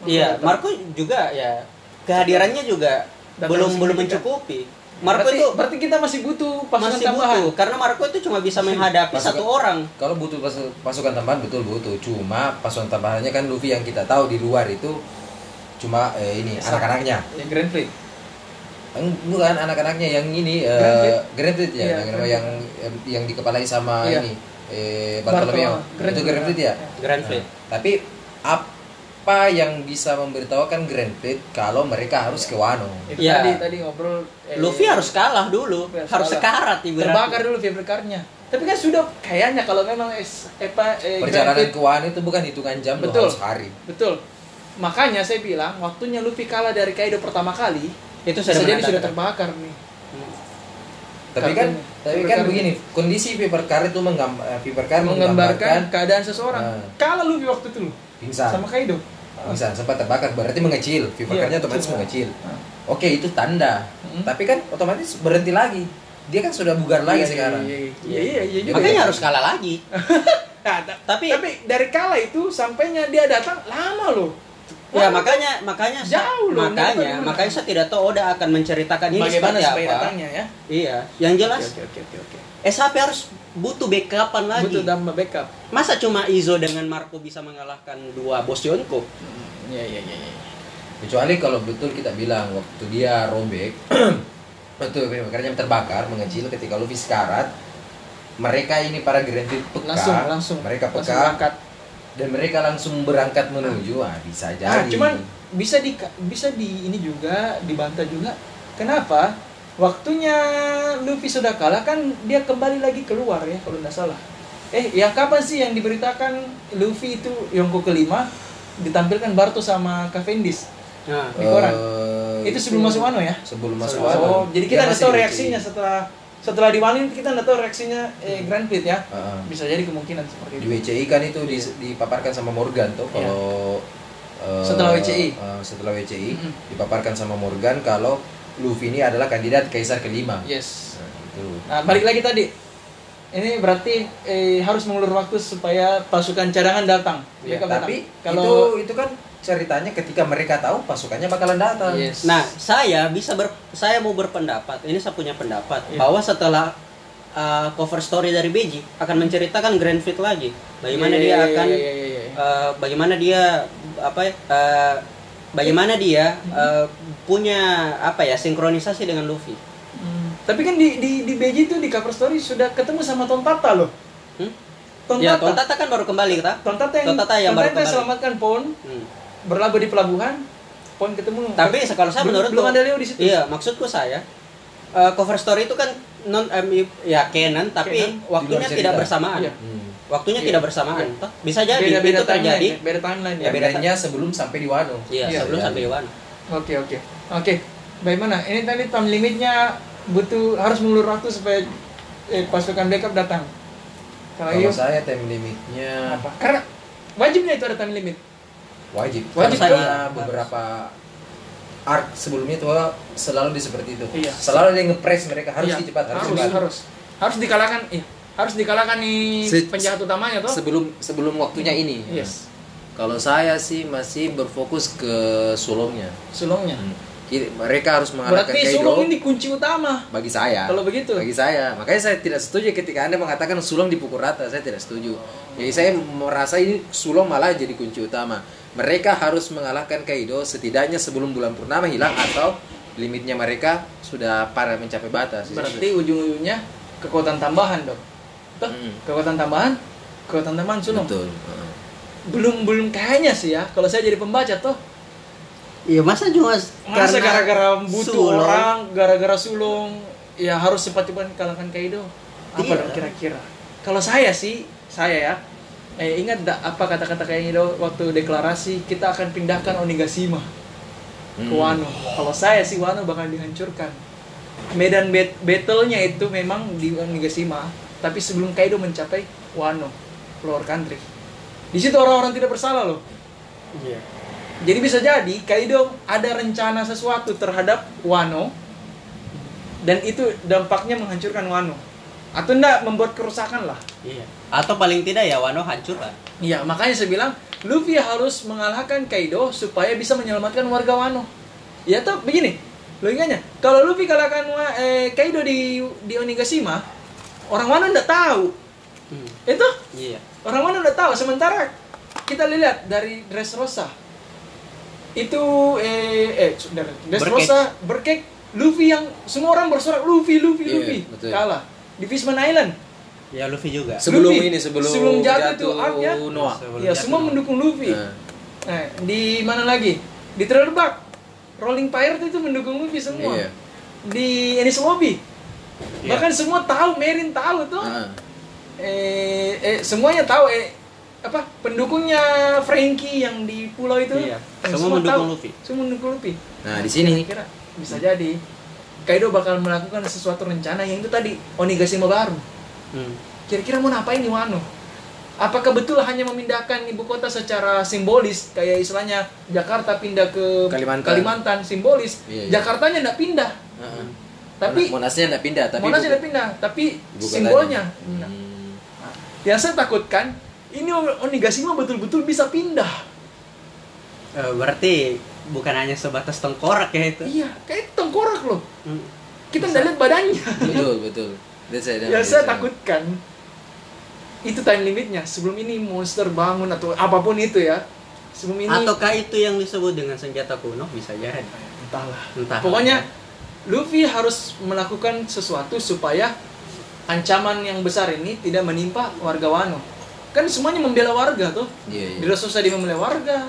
Iya, datang. Marco juga ya kehadirannya juga Datang belum belum signifikan. mencukupi. Marco ya? berarti, itu berarti kita masih butuh pasangan masih tambahan. butuh karena Marco itu cuma bisa menghadapi Pasukan- satu orang. Kalau butuh pasu- pasukan tambahan betul butuh. Cuma pasukan tambahannya kan Luffy yang kita tahu di luar itu cuma eh, ini Sa- anak-anaknya. Ya, Grand Fleet. Eng- Bukan anak-anaknya yang ini eh, Grand Fleet. Grand Fleet ya, Iya, yang Grand yang yang dikepalai sama Iya. ini eh Bartolomeo. Bartolomeo. Grand itu Grand Fleet ya. Grand Fleet. Nah, tapi apa yang bisa memberitahukan Grand Fleet kalau mereka harus ke Wano? Itu Iya. tadi tadi ngobrol. eh, Luffy harus kalah dulu, Luffy harus harus kalah. sekarat ibaratnya. terbakar dulu fiberkarnya. Tapi kan sudah kayaknya kalau memang es apa eh, Grand Perjalanan Fleet- ke Wano itu bukan hitungan jam, loh, Betul. harus hari. Betul. Makanya saya bilang waktunya Luffy kalah dari Kaido pertama kali, Itu bisa sudah jadi menandakan. sudah terbakar nih. Tapi kan Kartunya. tapi Paper kan card. begini, kondisi paper car itu menggam, eh, paper car menggambarkan Menggambarkan keadaan seseorang. Nah. Kalah Luffy waktu itu loh pingsan. Oh, sama Kaido. Pingsan sempat terbakar berarti mengecil, Iya, paper car-nya otomatis betul. mengecil. Nah. Hmm. Oke, itu tanda. Mm-mm. Tapi kan otomatis berhenti lagi. Dia kan sudah bugar lagi Iya, sekarang. Iya, iya, iya, iya, iya. Makanya Jadi- Makanya harus kalah lagi. Nah, ta- Tapi- tapi dari kala itu sampainya dia datang lama loh. Ya Lama makanya makanya saya- Jauh loh, makanya nggak tahu makanya saya tidak tahu Oda akan menceritakan ini bagaimana seperti sampai apa. datangnya ya? Iya, yang jelas Oke oke oke oke. SHP harus butuh backupan lagi. Butuh tambah backup. Masa cuma Izo dengan Marco bisa mengalahkan dua bos Yonko? Iya iya iya. iya. kecuali kalau betul kita bilang waktu dia robek betul karena terbakar mengecil ketika Luffy sekarat mereka ini para Grandit peka Langsung langsung. mereka langsung peka berangkat. dan mereka langsung berangkat menuju ah bisa Ah, jadi cuman bisa di bisa di ini juga dibantah juga. Kenapa? Waktunya Luffy sudah kalah kan dia kembali lagi keluar ya kalau nggak salah. Eh, yang kapan sih yang diberitakan Luffy itu Yonko kelima ditampilkan Barto sama Cavendish? Nah, di koran. Eh, Itu sebelum masuk Wano ya? sebelum masuk Sebelum- Oh, Wano. jadi kita Dia nggak masih tahu di- reaksinya setelah setelah diwanin kita nggak tahu reaksinya eh, Grand Fleet ya. Heeh. Bisa jadi kemungkinan seperti di itu. WCI kan itu dis- dipaparkan sama Morgan tuh kalau eh, Iya. Setelah WCI. eh, setelah WCI Mm-mm. dipaparkan sama Morgan kalau Luffy ini adalah kandidat kaisar kelima. Yes. Nah, itu. Nah, balik lagi tadi. Ini berarti eh, harus mengulur waktu supaya pasukan cadangan datang. Iya, Ya, Mereka tapi datang. kalau itu itu kan ceritanya ketika mereka tahu pasukannya bakalan datang. Yes. nah, saya bisa ber, saya mau berpendapat. Ini saya punya pendapat Iya. bahwa setelah uh, cover story dari Beji akan menceritakan Grand Fleet lagi. Bagaimana Iya, dia iya, akan iya, iya, iya, iya. uh, bagaimana dia apa ya, uh, bagaimana dia uh, punya apa ya sinkronisasi dengan Luffy. Hmm. Tapi kan di di di BJ itu di cover story sudah ketemu sama Tom Tata loh. Hmm? Tom Ya, Tata. Tontata kan baru kembali kita. Tom Tata yang Tom Tata yang baru kembali. selamatkan Pon Hmm. berlabuh di pelabuhan. Pon ketemu. Tapi kalau saya Belum- menurut belum ada Leo di situ. Iya, maksudku saya eh, cover story itu kan non em, ya canon tapi Canon. waktunya Di luar tidak cerita. bersamaan. Iya. Hmm. Waktunya Iya. tidak bersamaan. Toh, bisa jadi beda-beda itu terjadi. timeline, beda timeline ya. Ya, bedanya sebelum sampai di Wano. Iya, Iya, sebelum iya. sampai Iwan. Oke oke oke. Bagaimana? Ini tadi time limitnya butuh harus mengulur waktu supaya eh, pasukan backup datang. Kalau Kalau yuk saya time Iya. limitnya apa? Karena wajibnya itu ada time limit. wajib. Wajib Karena dong. beberapa arc sebelumnya itu selalu di seperti itu. Iya. Selalu ada yang ngepres mereka harus Iya, dicepat, harus, harus, cepat. harus harus dikalahkan. Iya harus dikalahkan nih Se- penjahat utamanya toh. Sebelum sebelum waktunya ini. Yes Kalau saya sih masih berfokus ke sulungnya. sulungnya. Hmm. Ki- Mereka harus mengalahkan Hmm. Berarti Kaido. sulung ini kunci utama. Bagi saya. Kalau begitu. Nah, Bagi saya. Makanya saya tidak setuju ketika Anda mengatakan sulung dipukul rata. Saya tidak setuju. Jadi saya merasa ini sulung malah jadi kunci utama. Mereka harus mengalahkan Kaido setidaknya sebelum bulan purnama hilang atau limitnya mereka sudah pada mencapai batas. Berarti ujung-ujungnya kekuatan tambahan dong. Toh, Hmm. kekuatan tambahan, kekuatan tambahan sulung. Betul. Heeh. belum belum kayaknya sih ya kalau saya jadi pembaca toh Iya, masa juga masa karena gara-gara butuh sulung. orang gara-gara sulung ya harus cepat-cepat kalahkan Kaido apa Iya. dong kira-kira kalau saya sih saya ya eh, ingat nggak apa kata-kata Kaido waktu deklarasi kita akan pindahkan Onigashima ke Hmm. Wano kalau saya sih Wano bakal dihancurkan medan bet- battle-nya itu memang di Onigashima tapi sebelum Kaido mencapai Wano Lower Country di situ orang-orang tidak bersalah loh Iya. jadi bisa jadi Kaido ada rencana sesuatu terhadap Wano dan itu dampaknya menghancurkan Wano. Atau enggak membuat kerusakan lah. Iya. Atau paling tidak ya Wano hancur lah. Iya, makanya saya bilang Luffy harus mengalahkan Kaido supaya bisa menyelamatkan warga Wano. Ya toh begini, logikanya. Kalau Luffy kalahkan Wa- eh, Kaido di di Onigashima, orang Wano enggak tahu. Ya, Hmm. Itu Iya. orang mana udah tahu sementara kita lihat dari Dressrosa itu eh eh dari Dressrosa berkek Luffy yang semua orang bersorak Luffy Luffy Iya, Luffy betul. kalah di Fishman Island Ya Luffy juga. Sebelum Luffy. ini sebelum, Sebelum jatuh itu arc-nya. Noah. Sebelum ya jatuh semua dong. mendukung Luffy Nah. Nah, di mana lagi di Thriller Bark Rolling Pirate itu mendukung Luffy semua Iya. di Enies Lobby Iya. bahkan semua tahu Merin tahu tuh Nah. eh, eh semuanya tahu eh apa pendukungnya Frankie yang di pulau itu Iya. Eh, Semua mendukung tahu. Luffy. semua mendukung Luffy Nah, di sini kira bisa jadi Kaido bakal melakukan sesuatu rencana yang itu tadi Onigashima baru Hmm. kira-kira mau ngapain nih Wano apakah betul hanya memindahkan ibu kota secara simbolis kayak istilahnya Jakarta pindah ke Kalimantan. simbolis Iya, iya. Jakartanya nggak pindah Heeh. tapi eh. Monasnya tidak pindah, tapi Monas ibu- Hmm. tidak pindah tapi ibu kotanya. simbolnya pindah. Hmm. Yang Ya, saya takutkan ini Onigashima betul-betul bisa pindah. Eh, berarti bukan hanya sebatas tengkorak ya itu. Iya, kayak tengkorak loh. Hmm. Kita nggak lihat badannya. betul betul That's it, Ya that's saya it. takutkan itu time limitnya. Sebelum ini monster bangun atau apapun itu ya. Sebelum ini Ataukah itu yang disebut dengan senjata kuno bisa jadi. Iya. entahlah. Entah. Pokoknya Luffy harus melakukan sesuatu supaya ancaman yang besar ini tidak menimpa warga Wano. Kan semuanya membela warga tuh. Iya, iya. Di Lost Society membela warga.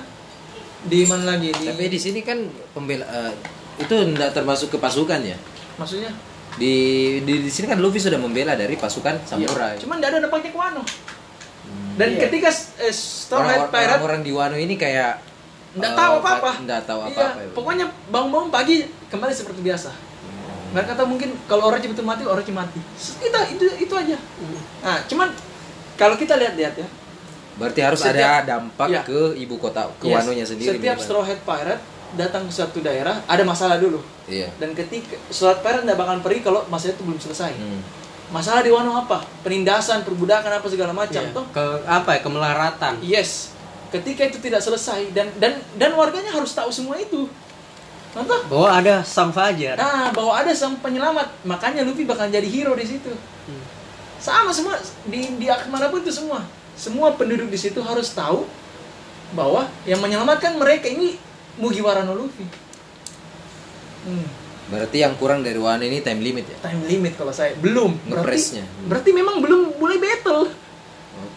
Di mana lagi? Di, tapi di sini kan pembela eh, itu tidak termasuk ke pasukan ya maksudnya? di, di di sini kan Luffy sudah membela dari Iya. pasukan samurai Iya. Cuman tidak ada nampaknya ke Wano. Dan ketika eh, Stormlight orang, Pirate orang di Wano ini kayak eh, Nggak tahu apa-apa. Nggak tahu Iya, apa-apa. ya. pokoknya bangun-bangun pagi kembali seperti biasa. Mereka kata mungkin kalau orang betul mati, orang mati. Kita itu itu aja. Nah, cuman kalau kita lihat-lihat ya, Berarti harus Setiap- ada dampak Iya. ke ibu kota ke Yes, Wanonya sendiri. Setiap minimal. Straw Hat Pirate datang ke suatu daerah ada masalah dulu. Iya. Dan ketika Straw Hat Pirate tidak bakalan pergi kalau masalah itu belum selesai. Hmm. Masalah di Wano apa? Penindasan, perbudakan apa segala macam. Iya. Toh, ke apa ya kemelaratan. yes. Ketika itu tidak selesai dan dan dan warganya harus tahu semua itu. Contoh, Bahwa Oh, ada sang fajar. Nah, bahwa ada sang penyelamat, makanya Luffy bakal jadi hero di situ. Hmm. Sama semua di di Akmara pun itu semua. Semua penduduk di situ harus tahu bahwa yang menyelamatkan mereka ini Mugiwara no Luffy. Hmm, Berarti yang kurang dari Wano ini time limit ya. time limit kalau saya belum. Berarti, Ngepresnya. berarti memang belum mulai battle.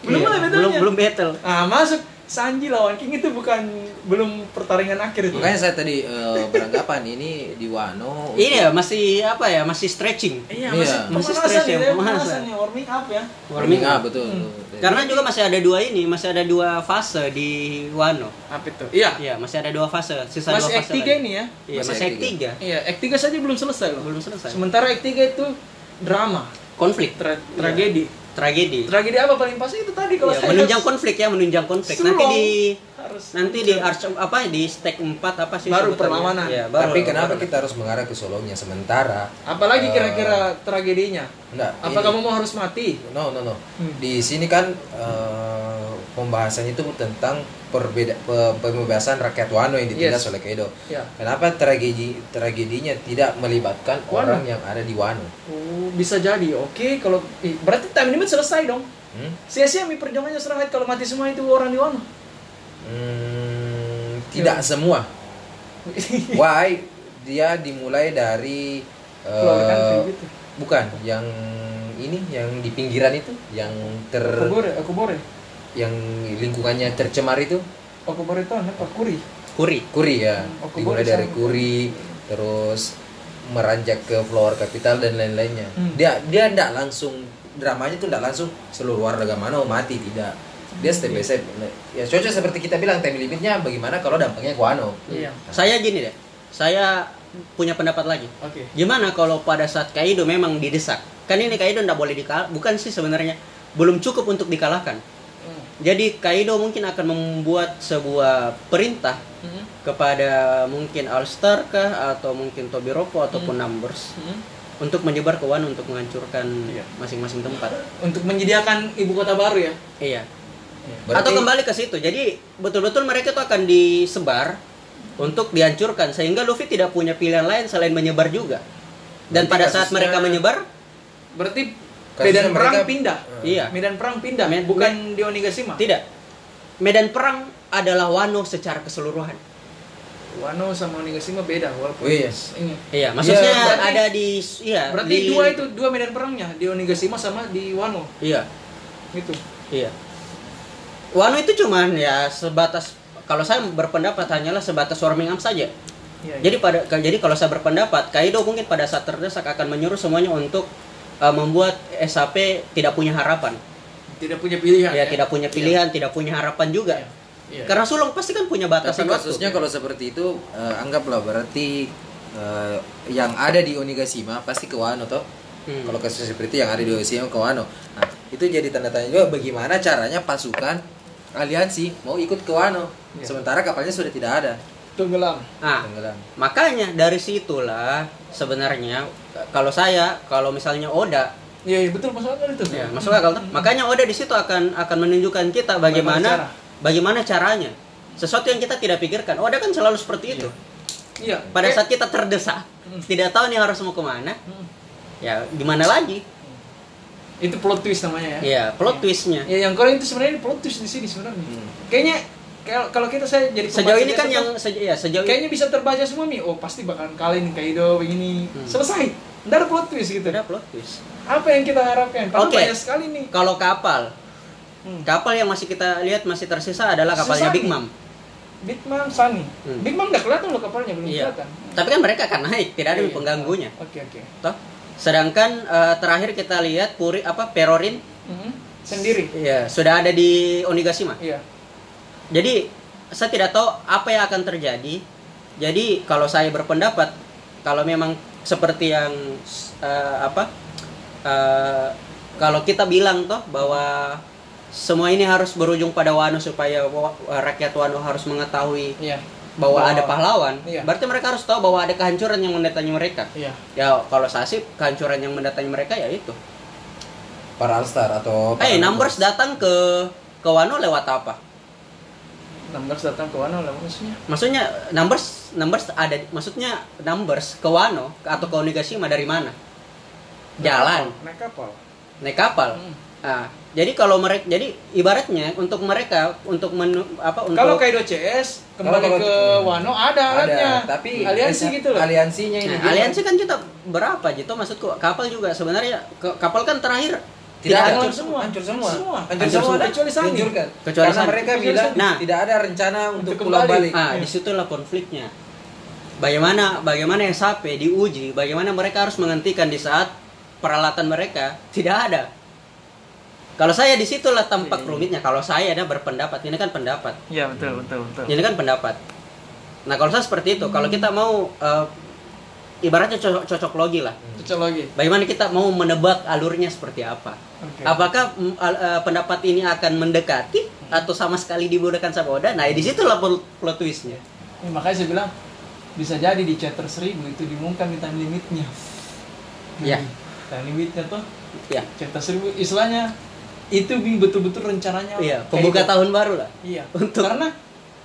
Belum Iya, mulai battle. belum belum battle. Nah, masuk Sanji lawan King itu bukan belum pertarungan akhir itu. Iya, Makanya saya tadi eh, beranggapan ini di Wano. untuk- Iya, masih apa ya? Masih stretching. Iya, Iya. masih Masih pemanasan stres ya, gitu ya, pemanasan. pemanasan ya, warming up ya. Hmm. warming up Ah, betul. betul. Karena juga masih ada dua ini, masih ada dua fase di Wano. Apa itu? Iya. Iya, masih ada dua fase, sisa Mas dua Act fase. 3 lagi. ini ya. Iya, Masih masih Act Act 3. Iya, Act 3 saja belum selesai loh. Belum selesai. Sementara Act 3 itu drama, Konflik, tra- tragedi. tragedi. Tragedi apa paling pas itu tadi kalau Iya, saya menunjang Nah. harus- konflik ya, menunjang konflik. Nanti Slow. di harus nanti di arch apa di stack 4 apa sih Baru sebutannya? perlawanan. Iya, baru. Tapi kenapa kita harus mengarah ke Solongnya sementara? Apalagi eh, kira-kira tragedinya? enggak, Apa ini- kamu mau harus mati? No, no, no. Hmm. Di sini kan eh, pembahasannya itu tentang perbeda pe- pembebasan rakyat Wano yang ditindas Yes. oleh Kaido. Ya. Kenapa tragedi tragedinya tidak melibatkan Wano. orang yang ada di Wano? Oh, bisa jadi. Oke, kalau eh, berarti time limit selesai dong. Hmm? Sia-sia mi perjuangannya Straw Hat kalau mati semua itu orang di Wano. Hmm, Ya. tidak semua. Why? Dia dimulai dari eh, Keluar country gitu. bukan yang ini yang di pinggiran itu yang ter Okobore, Okobore. yang lingkungannya tercemar itu Okobore itu apa? Kuri. kuri. Kuri ya, Hmm, aku dimulai boleh dari sama. Kuri, terus meranjak ke Flower Capital dan lain-lainnya. Hmm. Dia dia tidak langsung dramanya tuh tidak langsung seluruh warga Mano mati tidak. Dia step by step. Ya cocok seperti kita bilang time limitnya bagaimana kalau dampaknya ke Wano. Iya. Saya gini deh. Saya punya pendapat lagi. Oke. Gimana kalau pada saat Kaido memang didesak? Kan ini Kaido nggak boleh dikalah, bukan sih sebenarnya belum cukup untuk dikalahkan. Hmm. Jadi Kaido mungkin akan membuat sebuah perintah Hmm. kepada mungkin Alstar kah atau mungkin Tobiroko ataupun Numbers Hmm. untuk menyebar ke Wano untuk menghancurkan Iya. masing-masing tempat. Untuk menyediakan ibu kota baru ya. Iya. Berarti- Atau kembali ke situ. Jadi betul-betul mereka itu akan disebar untuk dihancurkan sehingga Luffy tidak punya pilihan lain selain menyebar juga. Dan Berarti pada saat kasusnya- mereka menyebar, Berarti Kasusnya medan perang mereka- Eh. pindah. iya. Medan perang pindah, Med- bukan di Onigashima. Tidak. Medan perang adalah Wano secara keseluruhan. Wano sama Onigashima beda walaupun Oh, iya. ini. Iya, maksudnya Iya, berarti- ada di iya, Berarti di- dua itu dua medan perangnya di Onigashima sama di Wano Iya, gitu. iya. Wano itu cuman ya sebatas kalau saya berpendapat hanyalah sebatas warming up saja. Iya. Jadi pada ka- jadi kalau saya berpendapat Kaido mungkin pada saat terdesak akan menyuruh semuanya untuk eh, membuat SAP tidak punya harapan. tidak punya pilihan. Ya, tidak punya pilihan, tidak punya harapan juga. Iya. Iya. Karena sulung pasti kan punya batasan Tapi waktu. kasusnya kalau seperti itu eh, anggaplah berarti eh, yang ada di Onigashima pasti ke Wano toh. Hmm. Kalau kasus seperti yang ada di Onigashima ke Wano. Nah, itu jadi tanda tanya juga bagaimana caranya pasukan aliansi mau ikut ke Wano Iya. sementara kapalnya sudah tidak ada. Tenggelam. Ah, Tenggelam. Makanya dari situlah sebenarnya kalau saya kalau misalnya Oda Iya, iya, betul masuk akal itu. Ya, masuk akal. toh? Makanya Oda di situ akan akan menunjukkan kita bagaimana bagaimana caranya. Sesuatu yang kita tidak pikirkan. Oda kan selalu seperti itu. Iya. Pada kayak- saat kita terdesak, tidak tahu nih harus mau kemana, Hmm. ya gimana lagi? itu plot twist namanya ya. Ya, plot twistnya. Ya, yang keren itu sebenarnya plot twist di sini sebenarnya. Kayaknya kalau kalau kita saya jadi Sejauh pembaca ini kan biasa yang tuh, seja- ya sejauh ini kayaknya bisa terbaca semua Mi. Oh, pasti bakalan kalian Kaido begini. Selesai. Ntar ada plot twist gitu. ada plot twist. Apa yang kita harapkan? Karena Oke. banyak sekali nih. Kalau kapal, Hmm. kapal yang masih kita lihat masih tersisa adalah kapalnya Sisanya. Big Mom. Big Mom, Sunny. Hmm. Big Mom udah kelihatan loh kapalnya belum Iya. kelihatan. Tapi kan mereka akan naik, tidak ada Iya, iya. pengganggunya. Oke, oke. Toh? Sedangkan eh, terakhir kita lihat Puri apa Perorin Mhm. Sendiri. ya sudah ada di Onigashima. Iya. Jadi saya tidak tahu apa yang akan terjadi. Jadi kalau saya berpendapat kalau memang seperti yang eh, apa eh, kalau kita bilang toh bahwa semua ini harus berujung pada Wano supaya wa- eh, rakyat Wano harus mengetahui Iya. bahwa Bahwa- ada pahlawan. Iya. Berarti mereka harus tahu bahwa ada kehancuran yang mendatangi mereka. Iya. Ya kalau saya sih kehancuran yang mendatangi mereka ya itu. Para Alstar atau para Eh Numbers datang ke ke Wano lewat apa? Numbers datang ke Wano lah maksudnya. Maksudnya Numbers Numbers ada maksudnya Numbers ke Wano atau ke Onigashima dari mana? Jalan, Naik kapal. naik kapal. Hmm. Ah, jadi kalau mereka jadi ibaratnya untuk mereka untuk menu apa untuk Kalau Kaido CS kembali Kalau- ke Wano ada alatnya. ada tapi aliansi gitu loh. aliansinya ini Nah, dia. aliansi kan kita berapa gitu maksudku kapal juga sebenarnya ke- kapal kan terakhir tidak ada hancur. semua. hancur semua Semua. hancur Hancur semua semua. kecuali Kecuali Sunny. dihancurkan. Kecuali karena Sunny. mereka Kecuali bilang Sunny. Nah. tidak ada rencana untuk Untuk pulang kembali. balik Ah, di situlah konfliknya. Bagaimana bagaimana SAP diuji, bagaimana mereka harus menghentikan di saat peralatan mereka tidak ada. Kalau saya di situlah tampak rumitnya. Kalau saya ada berpendapat, ini kan pendapat. Iya betul betul betul. Ini kan pendapat. Nah, kalau saya seperti itu, kalau kita mau eh, ibaratnya cocok, cocok logi lah. Cocok lagi. Bagaimana kita mau menebak alurnya seperti apa? Oke. Apakah mm, al- eh, pendapat ini akan mendekati atau sama sekali dibodohkan sama Oda? Nah, di situlah plot plot twistnya. Ya, makanya saya bilang bisa jadi di chapter 1000 itu diumumkan di time limitnya. Iya. Hmm. Time limitnya tuh Ya. chapter 1000 istilahnya itu Bi, betul-betul rencananya. Iya, pembuka Kaido. tahun baru lah. Iya. Untuk- Karena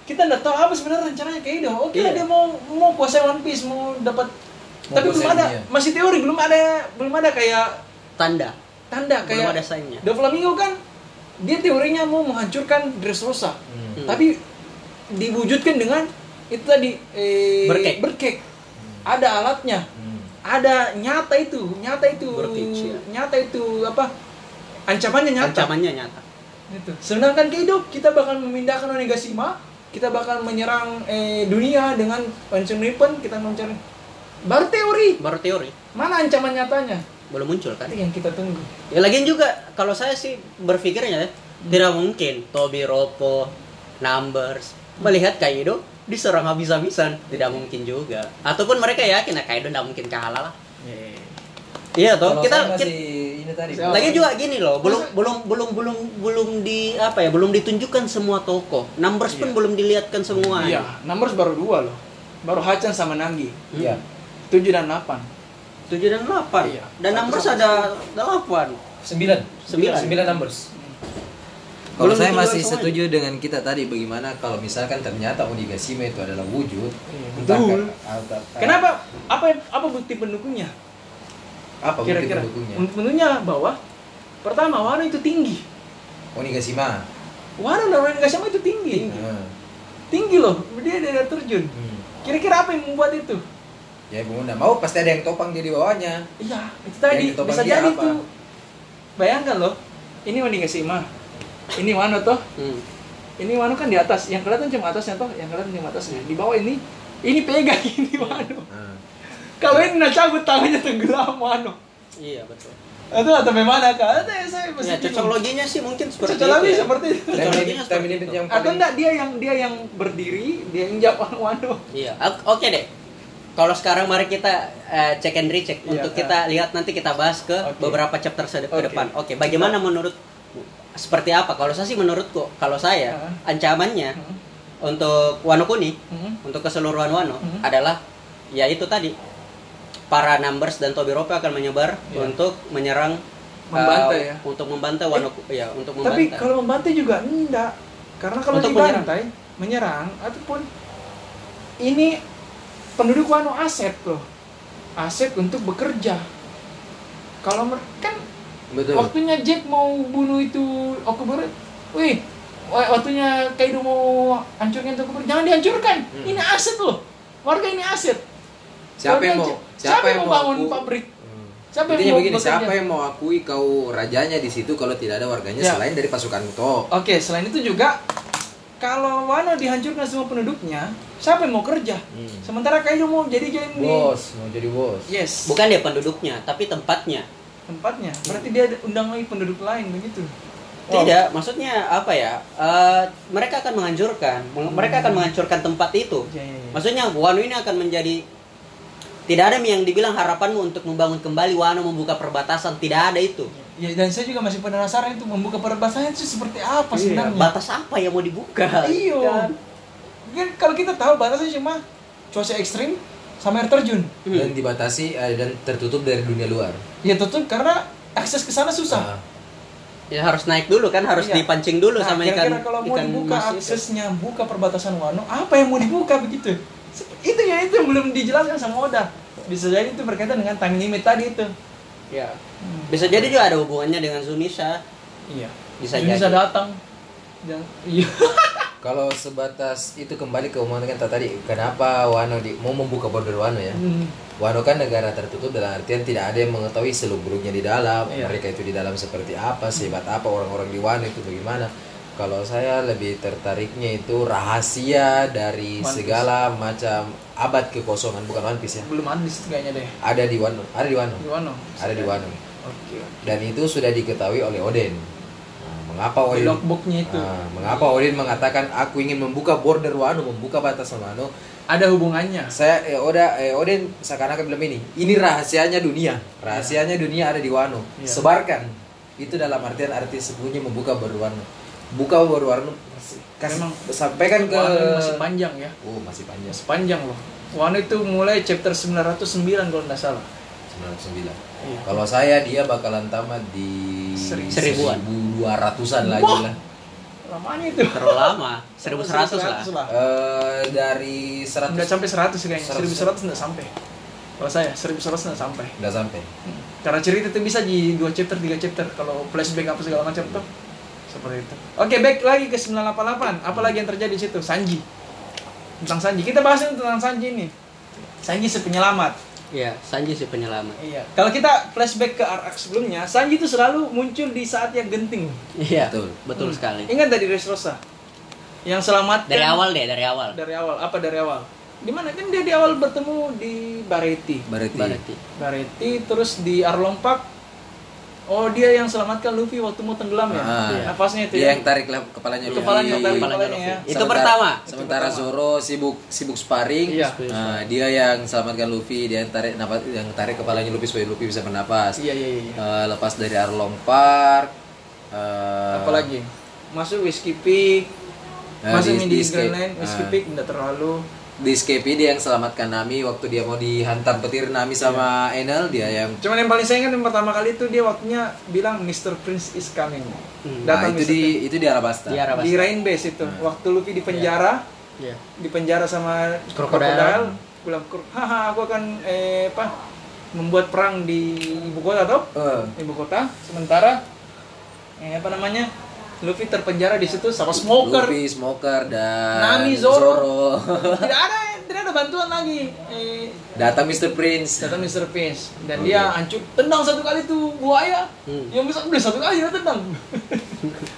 kita nggak tahu apa sebenarnya rencananya Kaido. Oke, lah, Iya. dia mau mau kuasai One Piece, mau dapat Mau tapi belum kuasain ada, dia. masih teori, belum ada belum ada kayak Tanda. tanda kayak Belum ada sign-nya. Doflamingo kan dia teorinya mau menghancurkan Dressrosa. Hmm. Tapi diwujudkan dengan itu tadi eh, Berkek. Ada alatnya. Hmm. Ada nyata itu, nyata itu. Berkek, iya. Nyata itu apa? Ancamannya nyata. Ancamannya nyata. Gitu. Sedangkan Kaido kita bakal memindahkan Onigashima, kita bakal menyerang eh, dunia dengan Onsen Ribbon, kita mencari baru teori. Baru teori, Mana ancaman nyatanya? belum muncul kan? Itu yang kita tunggu. Ya lagian juga kalau saya sih berpikirnya ya, Hmm. tidak mungkin Tobi Ropo, Numbers melihat Kaido diserang habis-habisan, tidak Hmm. mungkin juga. Ataupun mereka yakin nah Kaido tidak mungkin kalah lah. Iya toh, Kalau kita, saya kita masih ini tadi Saya- lagi juga gini loh, belum Masa- belum belum belum belum di apa ya, belum ditunjukkan semua tokoh. Numbers pun belum dilihatkan semua. Iya, numbers baru dua loh. Baru Hachan sama Nagi. iya 7 dan 8. 7 dan 8. Iya. Dan Numbers ada 8. sembilan Sembilan. sembilan numbers Belum kalau saya dijual masih semuanya. setuju dengan kita tadi bagaimana kalau misalkan ternyata Onigashima itu adalah wujud Iya, entah betul. ke- ah, entah- Kenapa? Apa apa bukti pendukungnya? apa bukti Kira-kira. pendukungnya Bukti pendukungnya bahwa pertama Wano itu tinggi. Onigashima Wano dan Onigashima itu tinggi. Tinggi, Hmm. loh. Dia dari terjun. Hmm. Kira-kira apa yang membuat itu? ya gue nggak mau pasti ada yang topang dia di bawahnya Iya, itu tadi Yang ditopang bisa dia jadi apa? tuh. Bayangkan loh. Ini Onigashima. Ini Wano toh. Hmm. Ini Wano kan di atas. Yang kelihatan cuma atasnya toh. Yang kelihatan cuma atasnya. Di bawah ini ini pegang ini Wano. Hmm. Kalau ini nah cabut tangannya tenggelam Wano. Iya, betul. Itu atau bagaimana kak? Itu Ya, saya mesti cocok bingung. loginya sih mungkin seperti Cocok lagi ya. seperti itu. Cocok Time loginya limit- time seperti limit itu. yang Atau paling enggak dia yang dia yang berdiri, dia yang jawab Wano. Iya, ak- oke deh. Kalau sekarang mari kita eh, check and recheck Iya, untuk Kak. kita lihat nanti kita bahas ke Oke. beberapa chapter se- ke Oke. depan. Oke, bagaimana menurut seperti apa? Kalau saya sih menurutku, kalau saya Ah. ancamannya Hmm. untuk Wano Kuni, Hmm. untuk keseluruhan Wano Mhm. adalah ya itu tadi para numbers dan Tobi Rope akan menyebar Iya. untuk menyerang eh, Membantai ya? Eh, Untuk membantai Wano- ya, untuk Tapi membantai. kalau membantai juga enggak. Karena kalau Untuk dibantai, menyerang. ataupun ini penduduk Wano aset loh. Aset untuk bekerja. Kalau mer- kan Betul. waktunya Jack mau bunuh itu Okubur, wih, wa- waktunya Kaido mau hancurkan Okubur, jangan dihancurkan. Hmm. Ini aset loh. Warga ini aset. Siapa yang Warga mau? Jack- Siapa yang mau bangun aku- pabrik? Hmm. Siapa yang Intinya mau begini, bekerja? siapa yang mau akui kau rajanya di situ kalau tidak ada warganya Ya. selain dari pasukan to? Oke, selain itu juga kalau Wano dihancurkan semua penduduknya, siapa yang mau kerja? Hmm. Sementara Kaido mau jadi jadi Bos, mau jadi bos. Yes. Bukan dia penduduknya, tapi tempatnya. Tempatnya. Berarti dia ada- undang lagi penduduk lain begitu. Oh. Tidak, maksudnya apa ya? eh, mereka akan menghancurkan, Hmm. meng- mereka akan menghancurkan tempat itu. Ya, ya, ya. Maksudnya Wano ini akan menjadi tidak ada yang dibilang harapanmu untuk membangun kembali Wano membuka perbatasan, tidak ada itu. Ya, dan saya juga masih penasaran itu membuka perbatasan itu seperti apa Iya, Oh, sebenarnya. Iya. batas apa yang mau dibuka? Iyo. Kan? Kan kalau kita tahu batasnya cuma cuaca ekstrim sama air terjun. Hmm. Dan dibatasi eh, dan tertutup dari dunia luar. Ya tentu karena akses ke sana susah. Nah, Ya harus naik dulu kan, harus Iya. dipancing Ah. dulu sama kira-kira ikan kalau mau ikan dibuka mas itu. aksesnya buka perbatasan Wano apa yang mau dibuka begitu Sep- itu ya itu yang belum dijelaskan sama Oda bisa jadi itu berkaitan dengan time limit tadi itu Ya. Hmm. Bisa jadi juga ada hubungannya dengan Sunisha. iya Bisa Jadi bisa jadi. datang dan iya Kalau sebatas itu kembali ke omongan kita tadi, kenapa Wano di, mau membuka border Wano ya? Hmm. Wano kan negara tertutup dalam artian tidak ada yang mengetahui seluk-beluknya di dalam, Iya. mereka itu di dalam seperti apa, sehebat apa orang-orang di Wano itu bagaimana. Kalau saya lebih tertariknya itu rahasia One dari Piece. segala macam abad kekosongan bukan One Piece ya. belum ada di situ kayaknya deh Ada di Wano, ada di Wano, di Wano ada di Wano. oke Dan itu sudah diketahui oleh Oden. Nah, mengapa di Oden? logbooknya itu Nah, mengapa Odin mengatakan aku ingin membuka border Wano, membuka batasan Wano? ada hubungannya Saya eh, Oda eh, Odin seakan-akan bilang ini, ini rahasianya dunia. Rahasianya Ya. dunia ada di Wano. Iya. Sebarkan. Itu dalam artian arti sebelumnya membuka border Wano. Buka border Wano kasih, Memang. sampaikan ke Wano ini masih panjang ya Oh, masih panjang. masih panjang loh Wano itu mulai chapter 909 kalau nggak salah 99. Iya. Kalau saya dia bakalan tamat di Seri- seribuan. 1200-an lagi Wah. lah. lamanya itu Terlalu lama, 1100 lah. Eh, dari 100 Nggak sampai 100 kayaknya, 100. 1100 nggak sampai Kalau saya, 1100 nggak sampai Nggak sampai. Hmm. Karena cerita itu bisa di 2 chapter, 3 chapter Kalau flashback apa segala macam tuh Seperti itu Oke, back lagi ke 988 Apa lagi yang terjadi di situ? Sanji Tentang Sanji, kita bahas dulu tentang Sanji ini Sanji si penyelamat Iya, Sanji si penyelamat. Iya. Kalau kita flashback ke arc sebelumnya, Sanji itu selalu muncul di saat yang genting. Iya. Betul. Betul Hmm. sekali. Ingat dari Dressrosa yang selamat kan Dari awal deh, dari awal. Dari awal apa dari awal? Di mana kan dia di awal bertemu di Bareti. Berarti Berarti. Bareti terus di Arlompak oh dia yang selamatkan Luffy waktu mau tenggelam ya Ah, iya. nafasnya itu ya dia yang tarik lah kepalanya Luffy. Kepalanya, Iya, tarik kepalanya kepalanya Luffy. ya. Itu pertama. Sementara Itu Zoro sibuk sibuk sparring. Iya. Nah, dia yang selamatkan Luffy, dia yang tarik napas, yang tarik kepalanya Luffy supaya Luffy bisa bernapas. iya iya iya iya. Eh, lepas dari Arlong Park. eh, apalagi masuk Whiskey Peak Nah, masuk di, di- di escape. Grand Line Whiskey Ah. Peak nggak terlalu Di escape dia yang selamatkan Nami waktu dia mau dihantam petir Nami sama Iya. Enel, dia yang cuman yang paling saya ingat yang pertama kali itu dia waktunya bilang Mr. Prince is coming Hmm. Nah, datang Mr. itu di itu di Arabasta. Di Arabasta. Prince. di Rain Base Hmm. itu waktu Luffy di penjara Iya. di penjara sama Krokodil. krokodil bilang haha aku akan eh, apa membuat perang di ibu kota toh Eh, ibu kota sementara eh, apa namanya Luffy terpenjara di situ sama Smoker Luffy, Smoker dan Nami, Zoro. Zoro. tidak ada tidak ada bantuan lagi eh, Datang Mr. Prince. datang Mr. Pinch dan Oh, dia iya. hancur tendang satu kali tuh buaya Hmm. yang bisa udah satu kali dia tendang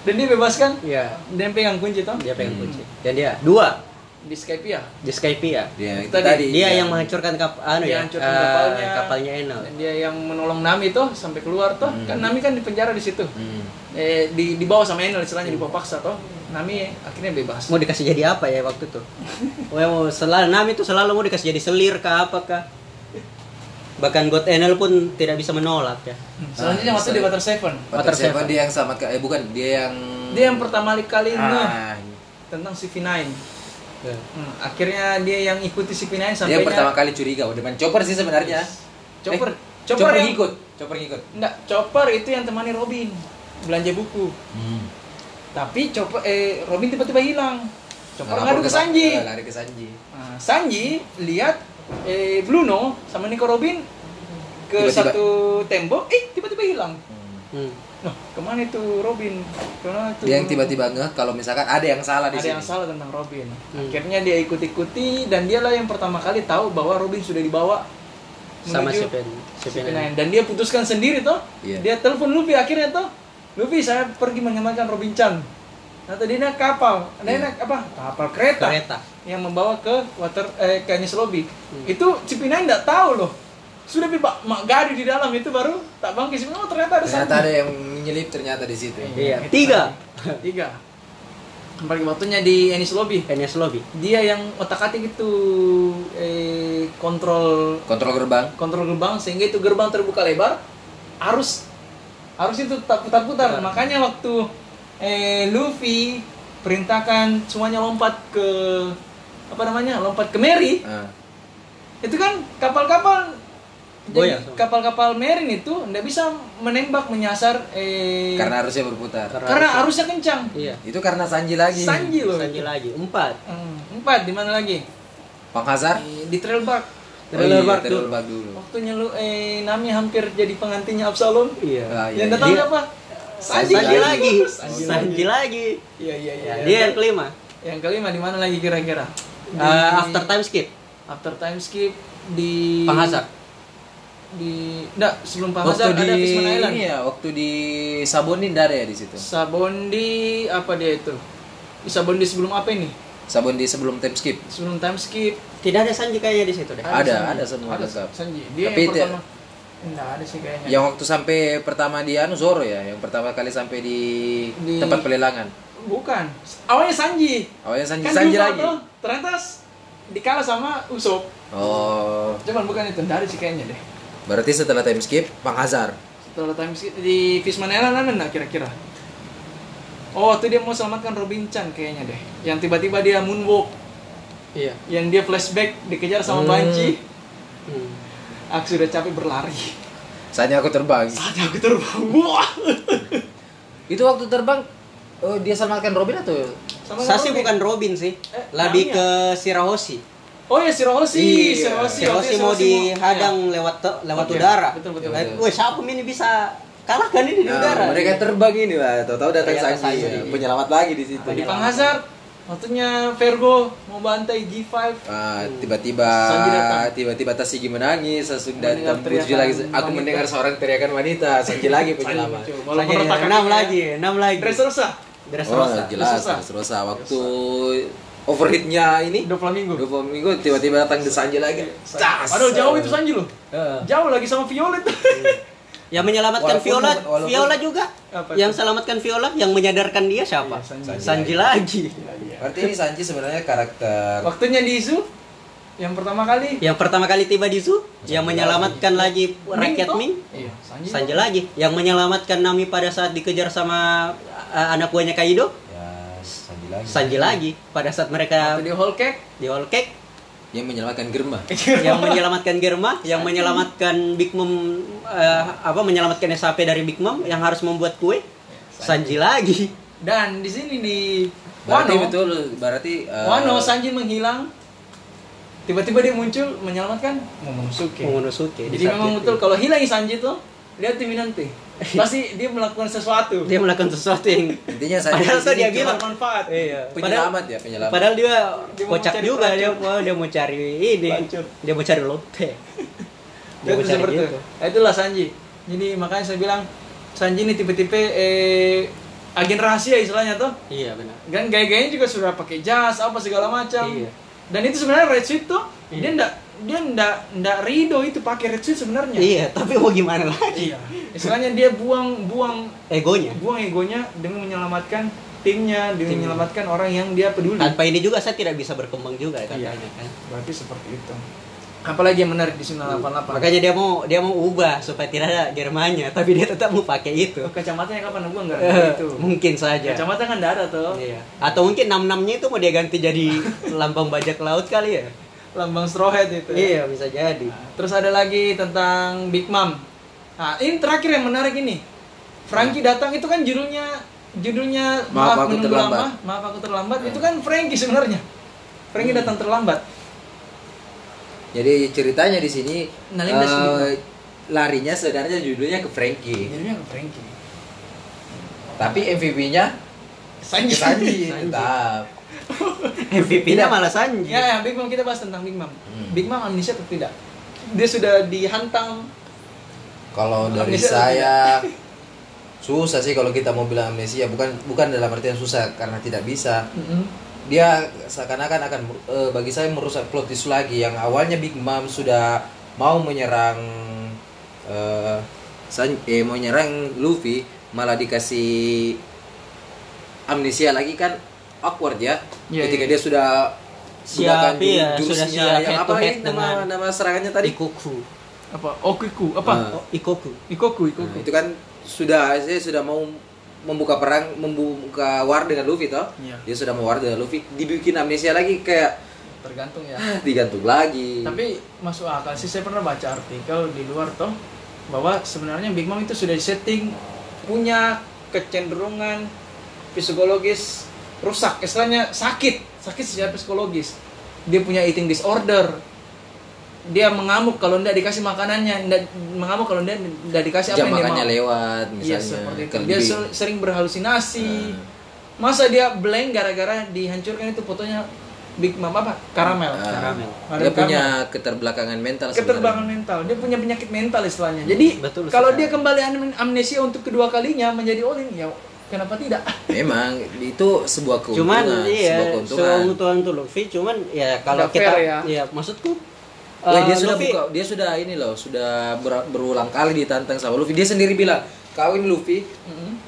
dan dia bebaskan Iya. dan pegang kunci toh Dia Iya. pegang kunci. Dan dia dua di Skype ya di Skype ya. Dia Iya. Tadi, Dia dia- yang menghancurkan kap anu Dia ya. hancurkan eh, kapalnya. kapalnya Enel. dan dia yang menolong Nami toh sampai keluar toh Hmm. kan Nami kan di penjara di situ Hmm. eh, di dibawa sama Enel istilahnya dibawa paksa toh Nami akhirnya bebas Mau dikasih jadi apa ya waktu itu? Wah, mau selalu Nami tuh selalu mau dikasih jadi selir kah apa kah? Bahkan God Enel pun tidak bisa menolak ya. selanjutnya Ah, waktu sorry. di Water Seven Water Water Seven Seven. dia yang sama ke eh bukan dia yang dia yang Nah, pertama kali ngeh ah, tentang CV9 Iya. Hmm, akhirnya dia yang ikuti CV9 dia sampai yang pertama kali curiga udah main chopper sih sebenarnya Chopper Chopper Eh, Chopper yang- ngikut, Chopper ngikut. Enggak, Chopper itu yang temani Robin belanja buku. Nah, Tapi Chopper eh Robin tiba-tiba hilang. Chopper Lapor ngadu ke Sanji. eh, Lari ke Sanji. Nah, Sanji lihat eh Bruno sama Nico Robin ke Tiba-tiba. satu tembok, eh tiba-tiba hilang. Hmm. Nah, kemana itu Robin? Kemana itu Dia yang Bruno? tiba-tiba ngeh kalau misalkan ada yang salah di ada sini. yang salah tentang Robin. Hmm. Akhirnya dia ikut-ikuti dan dialah yang pertama kali tahu bahwa Robin sudah dibawa sama menuju Seven Seven Seven Nine. Dan dia putuskan sendiri toh. Iya. Dia telepon Luffy akhirnya toh. Luffy saya pergi mengamankan Robin Chan. Nah tadi naik kapal, dia Iya. naik apa? Kapal kereta, Kereta. yang membawa ke water eh, ke Enies Lobby. Hmm. Itu Cipinang nggak tahu loh. Sudah bebas mak gadi di dalam itu baru tak bangkit. Sebenarnya, Oh ternyata ada Ternyata Sanji. ada yang nyelip ternyata di situ. Iya. Tiga. Tiga. Bagi waktunya di Enies Lobby. NS Lobby. dia yang otak atik itu eh, kontrol Kontrol gerbang. kontrol gerbang sehingga itu gerbang terbuka lebar arus arus itu tak putar putar makanya waktu eh, Luffy perintahkan semuanya lompat ke apa namanya lompat ke Mary Ah. itu kan kapal-kapal Goyang jadi semua. kapal-kapal Marine itu nggak bisa menembak menyasar eh, Karena harusnya berputar. karena arusnya kencang Iya. Itu karena Sanji lagi. Sanji loh Sanji lagi. Empat. Hmm, empat di mana lagi Penghasar? Eh, di trail bark Trailer Park trailer dulu. park Oh iya, dulu. Waktunya lu eh Nami hampir jadi pengantinnya Absalom. Iya. Ah, Yang iya, iya. datang siapa? Sanji, Sanji lagi. Sanji Sanji lagi. Iya iya Ya, iya. Nah, iya. dia yang kelima. Yang kelima di mana lagi kira-kira? Eh, after time skip. After time skip di Panghasar. Di enggak sebelum Waktu Panghasar ada di Fishman Island. ini ya, waktu di Sabonin ada ya di situ. Sabondi apa dia itu? Di Sabondi sebelum apa ini? Sabonin sebelum time skip. Sebelum time skip Tidak ada Sanji kayaknya di situ deh. Ah. Ada, Sanji. ada semua Ada lengkap. Sanji. Dia Tapi yang itu- ya- pertama. Enggak ada sih kayaknya. Yang waktu sampai pertama di anu Zoro ya, yang pertama kali sampai di, Di- tempat pelelangan. Bukan. Awalnya Sanji. Awalnya Sanji kan Sanji Sanji lagi. ternyata s- dikalah sama Usop Oh, cuman bukan itu dari sih kayaknya deh berarti setelah time skip Panghazar. setelah time skip di Fishman Island ada nggak kira-kira oh itu dia mau selamatkan Robin Chan kayaknya deh yang tiba-tiba dia moonwalk Iya. yang dia flashback dikejar sama Hmm. Banshee Hmm. aku sudah capek berlari Saatnya aku terbang. saat aku terbang wah Itu waktu terbang eh, dia selamatkan Robin atau Sama Sasi Robin. bukan Robin sih. Eh, Lebih Nami ke Shirahoshi. oh ya Shirohoshi Iya. Shirohoshi Shirahoshi Waktunya mau Shirohoshi dihadang Iya. lewat te- lewat Oke. udara. Betul, betul, Eh, betul. Wah, siapa ini bisa kalahkan ini di Nah, udara? mereka terbang ini lah, tahu-tahu datang Ternyata Sanji, Sanji. ya. penyelamat lagi di situ. mau. Iya, di Panghazar waktunya Virgo mau bantai G5 Ah, tiba-tiba Sanji Hmm. datang. tiba-tiba Tasigi menangis langsung Mendengar datang Puji teriakan lagi aku wanita. mendengar seorang teriakan wanita Sanji lagi penyelamat muncul. Lagi, Walaupun ya. retak enam kakinya. lagi, enam lagi. Dressrosa Dressrosa. oh jelas Dressrosa. Dressrosa waktu overheatnya ini dua minggu. dua puluh minggu tiba-tiba datang ke Sanji lagi Cas! Padahal Iya, jauh itu Sanji loh. Heeh. Jauh lagi sama Violet. Yang menyelamatkan Walaupun- Viola, walaupun- Viola juga. Apa itu? yang selamatkan Viola, yang menyadarkan dia siapa? Iya, Sanji. Sanji, lagi. Iya. berarti ini Sanji sebenarnya karakter Waktunya di zoo yang pertama kali Yang pertama kali tiba di zoo, yang menyelamatkan lagi rakyat toh? Ming. Iya, Sanji. Sanji lagi yang menyelamatkan Nami pada saat dikejar sama uh, anak buahnya Kaido. ya Sanji lagi Sanji lagi pada saat mereka Waktu di whole cake di All Cake yang menyelamatkan Germa Eh, yang menyelamatkan Germa, yang menyelamatkan Big Mom eh, apa menyelamatkan SHP dari Big Mom yang harus membuat kue. Sanji lagi. dan di sini di berarti Wano. betul berarti eh, Wano Sanji menghilang. Tiba-tiba dia muncul menyelamatkan Momonosuke. Momonosuke. Jadi memang betul kalau hilangin Sanji tuh lihat tim nanti pasti dia melakukan sesuatu. dia melakukan sesuatu yang intinya Sanji padahal di tuh sini dia Cuma bilang manfaat. iya. Padahal, penyelamat ya penyelamat padahal dia Dia mau kocak cari juga dia, pelacur. wah, dia mau cari ini. Pelacur. Dia mau cari lote. Dia Dia mau tuh cari seperti gitu. itu. Nah, itulah Sanji. Jadi makanya saya bilang Sanji ini tipe-tipe eh, agen rahasia istilahnya tuh. Iya benar. Dan Kan gaya-gayanya juga sudah pakai jas apa segala macam. Iya. Dan itu sebenarnya red suit tuh dia Iya. ndak dia ndak ndak rido itu pakai red suit sebenarnya. Iya, tapi mau gimana lagi? Iya. Istilahnya dia buang buang Egonya. buang egonya demi menyelamatkan timnya, demi Timnya. menyelamatkan orang yang dia peduli. Tanpa ini juga saya tidak bisa berkembang juga katanya Iya. kan. Berarti seperti itu. Apalagi yang menarik di sini 88. Makanya dia mau dia mau ubah supaya tidak ada Jermannya, tapi dia tetap mau pakai itu. kacamatanya kapan gua enggak Eh, Iya, itu. Ya, mungkin saja. Kacamata kan enggak ada tuh. Iya. Atau mungkin 66-nya itu mau dia ganti jadi lambang bajak laut kali ya. lambang straw hat itu. ya. Iya bisa jadi. Terus ada lagi tentang Big Mom. Nah, ini terakhir yang menarik ini. Frankie datang itu kan judulnya judulnya Ya. Maaf aku menunggu terlambat." Ya. lama, maaf aku terlambat. Itu kan Frankie sebenarnya. Hmm. Frankie datang terlambat. Jadi ceritanya di sini Nah, Linda eh, sendiri. larinya sebenarnya judulnya ke Frankie, Judulnya ke Frankie. tapi MVP-nya Sanji. Ya, Sanji. Tetap. MVP-nya malah Sanji. Ya, ya, Big Mom kita bahas tentang Big Mom. Hmm. Big Mom amnesia atau tidak? Dia sudah dihantam. Kalau dari Amnesia saya susah sih kalau kita mau bilang amnesia bukan bukan dalam artian susah karena tidak bisa. Mm-mm. Dia seakan-akan akan eh, bagi saya merusak plot twist lagi yang awalnya Big Mom sudah mau menyerang eh, San- eh, mau menyerang Luffy malah dikasih amnesia lagi kan awkward ya. Iya, Ketika iya. dia sudah Siap, gunakan iya, jurusnya sudah siap yang head to apa head ini nama dengan nama serangannya tadi? Ikoku. Apa? Okiku, apa? Eh, Oh, Ikoku. Ikoku, Nah, Ikoku. itu kan sudah saya sudah mau membuka perang membuka war dengan Luffy toh Iya. dia sudah mau war dengan Luffy dibikin amnesia lagi kayak Tergantung ya. ah, digantung lagi Tapi masuk akal sih saya pernah baca artikel di luar toh bahwa sebenarnya Big Mom itu sudah disetting punya kecenderungan psikologis rusak, istilahnya sakit, sakit secara psikologis. Dia punya eating disorder. Dia mengamuk kalau tidak dikasih makanannya, ndak- mengamuk kalau dia tidak dikasih apa jam yang makannya dia mau. lewat Iya, misalnya Nah. seperti itu. kelebih. Dia ser- sering berhalusinasi. Masa dia blank gara-gara dihancurkan itu fotonya Big Mom apa? Karamel. Ah, Karamel. dia Karamel. punya keterbelakangan mental keterbangan mental dia punya penyakit mental istilahnya jadi Betul kalau sekali. dia kembali am- amnesia untuk kedua kalinya menjadi olin ya kenapa tidak sebenarnya. memang itu sebuah Cuman keuntungan sebuah iya, keuntungan keuntungan tuh Luffy, cuman ya kalau Nggak kita fair ya. iya, maksudku Wah, eh, dia sudah Luffy- buka- dia sudah ini loh sudah ber- berulang kali ditantang sama Luffy dia sendiri bilang kau ini Luffy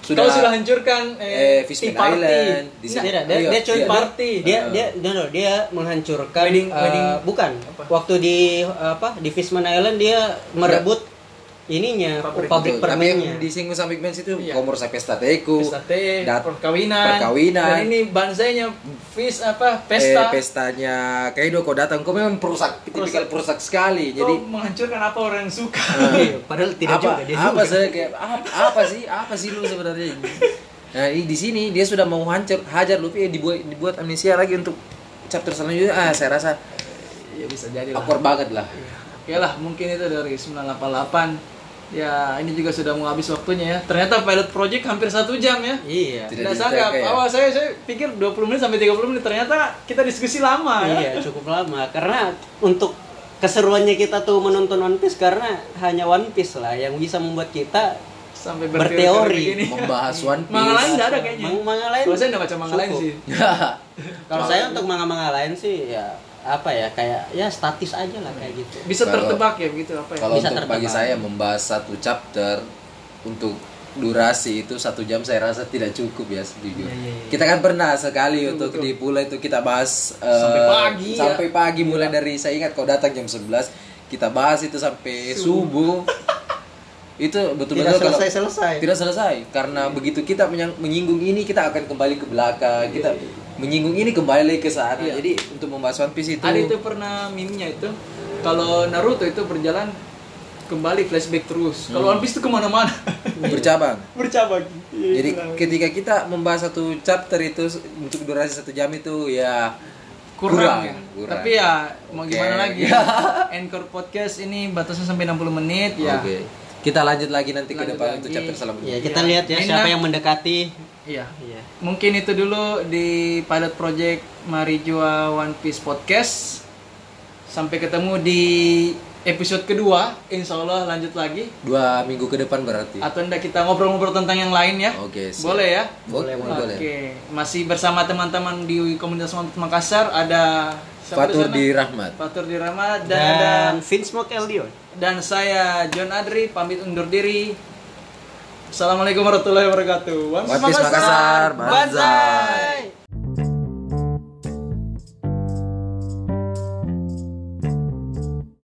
kalau sudah hancurkan eh, eh, tea Fishman party Island di Tidak, sini. dia, dia, Iya, dia cuy iya. party. Dia dia dia, no, dia menghancurkan Wedding- eh, wedding- bukan. apa? Waktu di apa di Fishman Island dia merebut ininya Pabrik. pabrik, Betul, tapi yang permennya. disinggung sama Big Ben itu Iya. komor sampai stateku pesta teh eh, dat- perkawinan perkawinan. dan ini banzainya fish apa eh, pesta pestanya Kaido kau datang kau memang perusak tipikal perusak sekali Kau jadi menghancurkan apa orang yang suka Iya, Padahal tidak apa juga dia apa juga. saya kayak apa, apa sih apa sih lu sebenarnya nah ini di sini dia sudah mau hancur hajar Luffy eh, dibuat dibuat amnesia lagi untuk chapter selanjutnya ah saya rasa ya bisa jadi lah awkward banget lah Oke lah, mungkin itu dari 988 ya ini juga sudah mau habis waktunya ya ternyata pilot project hampir satu jam ya Iya. Tidak Tidak sangka, disangka ya. awal saya saya pikir 20 menit sampai 30 menit ternyata kita diskusi lama ya. Iya, cukup lama karena untuk keseruannya kita tuh menonton One Piece karena hanya One Piece lah yang bisa membuat kita Sampai Berteori. begini. membahas One Manga lain Piece nggak ada kayaknya. Mang- manga lain Kalau saya nggak baca manga lain cukup. sih. kalau saya untuk manga-manga lain sih ya apa ya kayak ya statis aja lah kayak gitu. Bisa Kalau- tertebak ya begitu apa ya. Kalau Bisa untuk bagi tertebak. saya membahas satu chapter untuk durasi itu satu jam saya rasa tidak cukup ya jujur. Kita kan pernah sekali untuk di Pulau itu kita bahas eh, Sampai pagi, ya. sampai pagi mulai dari saya ingat kau datang jam 11 kita bahas itu sampai subuh. itu betul-betul Tidak kalau- selesai-selesai. tidak selesai karena begitu kita menyang- menyinggung ini kita akan kembali ke belakang kita menyinggung ini kembali lagi ke sana jadi untuk membahas One Piece itu Ada itu pernah meme-nya itu kalau Naruto itu berjalan kembali flashback terus. Kalau Hmm. One Piece itu kemana-mana bercabang bercabang. Iya, Jadi itu lah. ketika kita membahas satu chapter itu s- untuk durasi satu jam itu ya kurang, kurang, ya. kurang. Tapi ya mau Oke. gimana lagi? Encore podcast ini batasnya sampai 60 menit ya. Oke. Kita lanjut lagi nanti ke Lanjut depan lagi. untuk chapter selanjutnya. Ya, kita Iya. lihat ya siapa Enak. yang mendekati. Iya. Iya. Mungkin itu dulu di pilot project Marijua One Piece Podcast. Sampai ketemu di episode kedua, insya Allah lanjut lagi. Dua minggu ke depan berarti. Atau enggak kita ngobrol-ngobrol tentang yang lain ya? Oke, siap. Boleh ya? Boleh, boleh. Oke, masih bersama teman-teman di komunitas One Piece Makassar ada siapa Fatur sana? di Rahmat. Fatur di Rama dan, Dan dan Vince Mokeldion. dan saya John Adri pamit undur diri. Assalamualaikum warahmatullahi wabarakatuh. One One Piece Makassar, banzai.